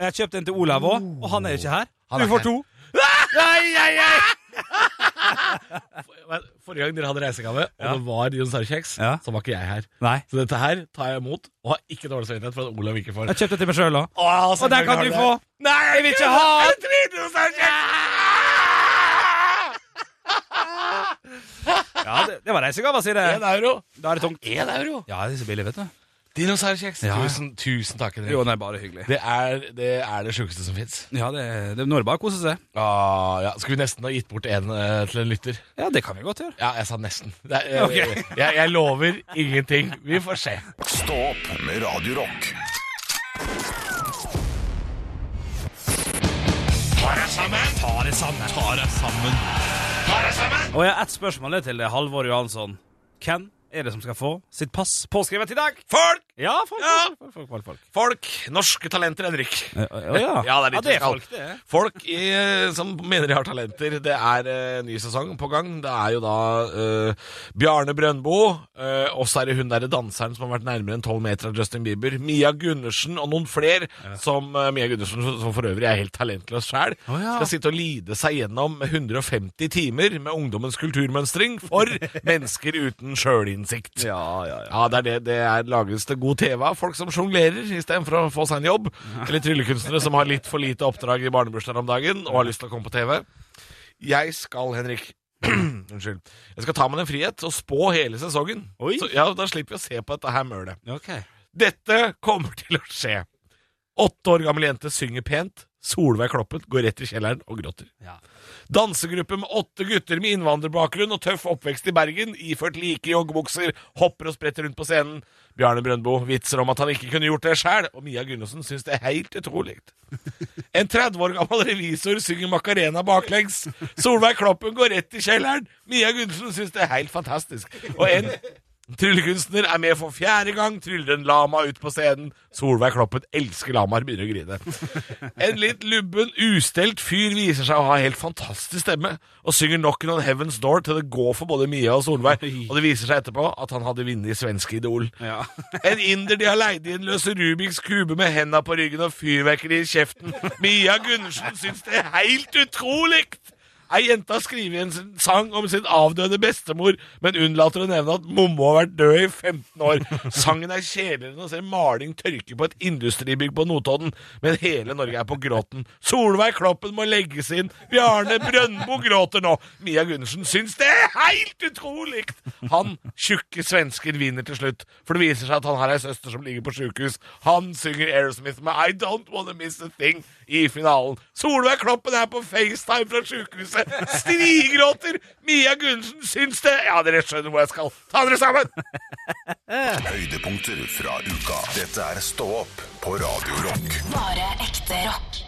S4: jeg har kjøpt en til Olav òg, og han er ikke her.
S3: er
S4: Du får
S3: ikke
S4: to.
S3: Nei, nei, nei! For- Forrige gang dere hadde reisegave, og det var dinosaurkjeks,
S4: Ja.
S3: så var ikke jeg her.
S4: Nei.
S3: Så dette her tar jeg imot, og har ikke dårlig samvittighet for at Olav ikke får.
S4: Jeg har kjøpt det til meg sjøl òg.
S3: Åh,
S4: Og den kan du få.
S3: Nei, jeg vil
S4: ikke ha den! Ja, det, det var reisegava, sier
S3: Én
S4: det.
S3: euro.
S4: Da er det tungt.
S3: Én euro.
S4: Ja, det er så billig, vet du.
S3: Dinosaurkjeks.
S4: Ja, ja.
S3: Tusen, tusen takk. Henrik.
S4: Jo, nei, bare hyggelig.
S3: Det er det, er det sjukeste som fins.
S4: Ja, det, det nå er det bare å kose seg.
S3: Ah, ja. Skulle vi nesten ha gitt bort en eh, til en lytter?
S4: Ja, det kan vi godt gjøre.
S3: Ja, jeg sa nesten. Det er, jeg,
S4: Ok.
S3: jeg, jeg lover ingenting. Vi får se.
S1: Stå opp med Radio Rock.
S4: Og jeg har ett spørsmål til deg, Halvor Johansson. Hvem er det som skal få sitt pass påskrevet i dag?
S3: Folk!
S4: Ja, folk,
S3: Ja.
S4: folk, folk, folk, folk.
S3: Folk! Norske talenter, Henrik.
S4: Ja, ja.
S3: Ja, det er,
S4: det er
S3: folk,
S4: folk, det er.
S3: Folk i, som mener de har talenter. Det er eh, ny sesong på gang. Det er jo da eh, Bjarne Brøndbo. eh, og så er det hun derre danseren som har vært nærmere enn tolv meter av Justin Bieber. Mia Gundersen og noen flere. Som eh, Mia Gundersen, som- som for øvrig er helt talentløs sjæl,
S4: Å, ja.
S3: skal sitte og lide seg gjennom 150 timer med ungdommens kulturmønstring for mennesker uten sjølinnsikt.
S4: Ja, ja, ja.
S3: Ja, det er det. Det er lages det god TV av folk som sjonglerer istedenfor å få seg en jobb. Eller tryllekunstnere som har litt for lite oppdrag i barnebursdager om dagen og har lyst til å komme på TV. Jeg skal, Henrik Unnskyld. Jeg skal ta meg den frihet og spå hele sesongen.
S4: Oi.
S3: Så, ja, Da slipper vi å se på dette her mølet.
S4: Ok.
S3: Dette kommer til å skje. Åtte år gammel jente synger pent. Solveig Kloppen går rett i kjelleren og gråter.
S4: Ja.
S3: Dansegruppe med åtte gutter med innvandrerbakgrunn og tøff oppvekst i Bergen, iført like joggebukser, hopper og spretter rundt på scenen. Bjarne Brøndbo vitser om at han ikke kunne gjort det sjæl, og Mia Gunnarsen syns det er helt utrolig. En 30 år gammel revisor synger Macarena baklengs. Solveig Kloppen går rett i kjelleren. Mia Gunnarsen syns det er helt fantastisk. Og en tryllekunstner er med for fjerde gang, tryller en lama ut på scenen. Solveig Kloppen elsker lamaer, begynner å grine. En litt lubben, ustelt fyr viser seg å ha helt fantastisk stemme, og synger Knockin' on Heaven's Door til det går for både Mia og Solveig. Og det viser seg etterpå at han hadde vunnet i svenske Idol.
S4: Ja.
S3: En inder de har leid inn løser Rubiks kube med henda på ryggen og fyrverkeri i kjeften. Mia Gundersen syns det er helt utrolig! Ei jente har skrevet en sin- sang om sin avdøde bestemor, men unnlater å nevne at mommo har vært død i 15 år. Sangen er kjedeligere enn å se maling tørke på et industribygg på Notodden, men hele Norge er på gråten. Solveig Kloppen må legges inn, Bjarne Brøndbo gråter nå. Mia Gundersen syns det er helt utrolig! Han, tjukke svensker, vinner til slutt, for det viser seg at han har ei søster som ligger på sjukehus. Han synger Aerosmith med I Don't Wanna Miss A Thing i finalen. Solveig Kloppen er på FaceTime fra sjukehuset, strigråter! Mia Gundersen syns det Ja, dere skjønner hvor jeg skal. Ta dere sammen!
S1: Høydepunkter fra uka. Dette er Stå opp på Radio Rock.
S2: Bare ekte rock.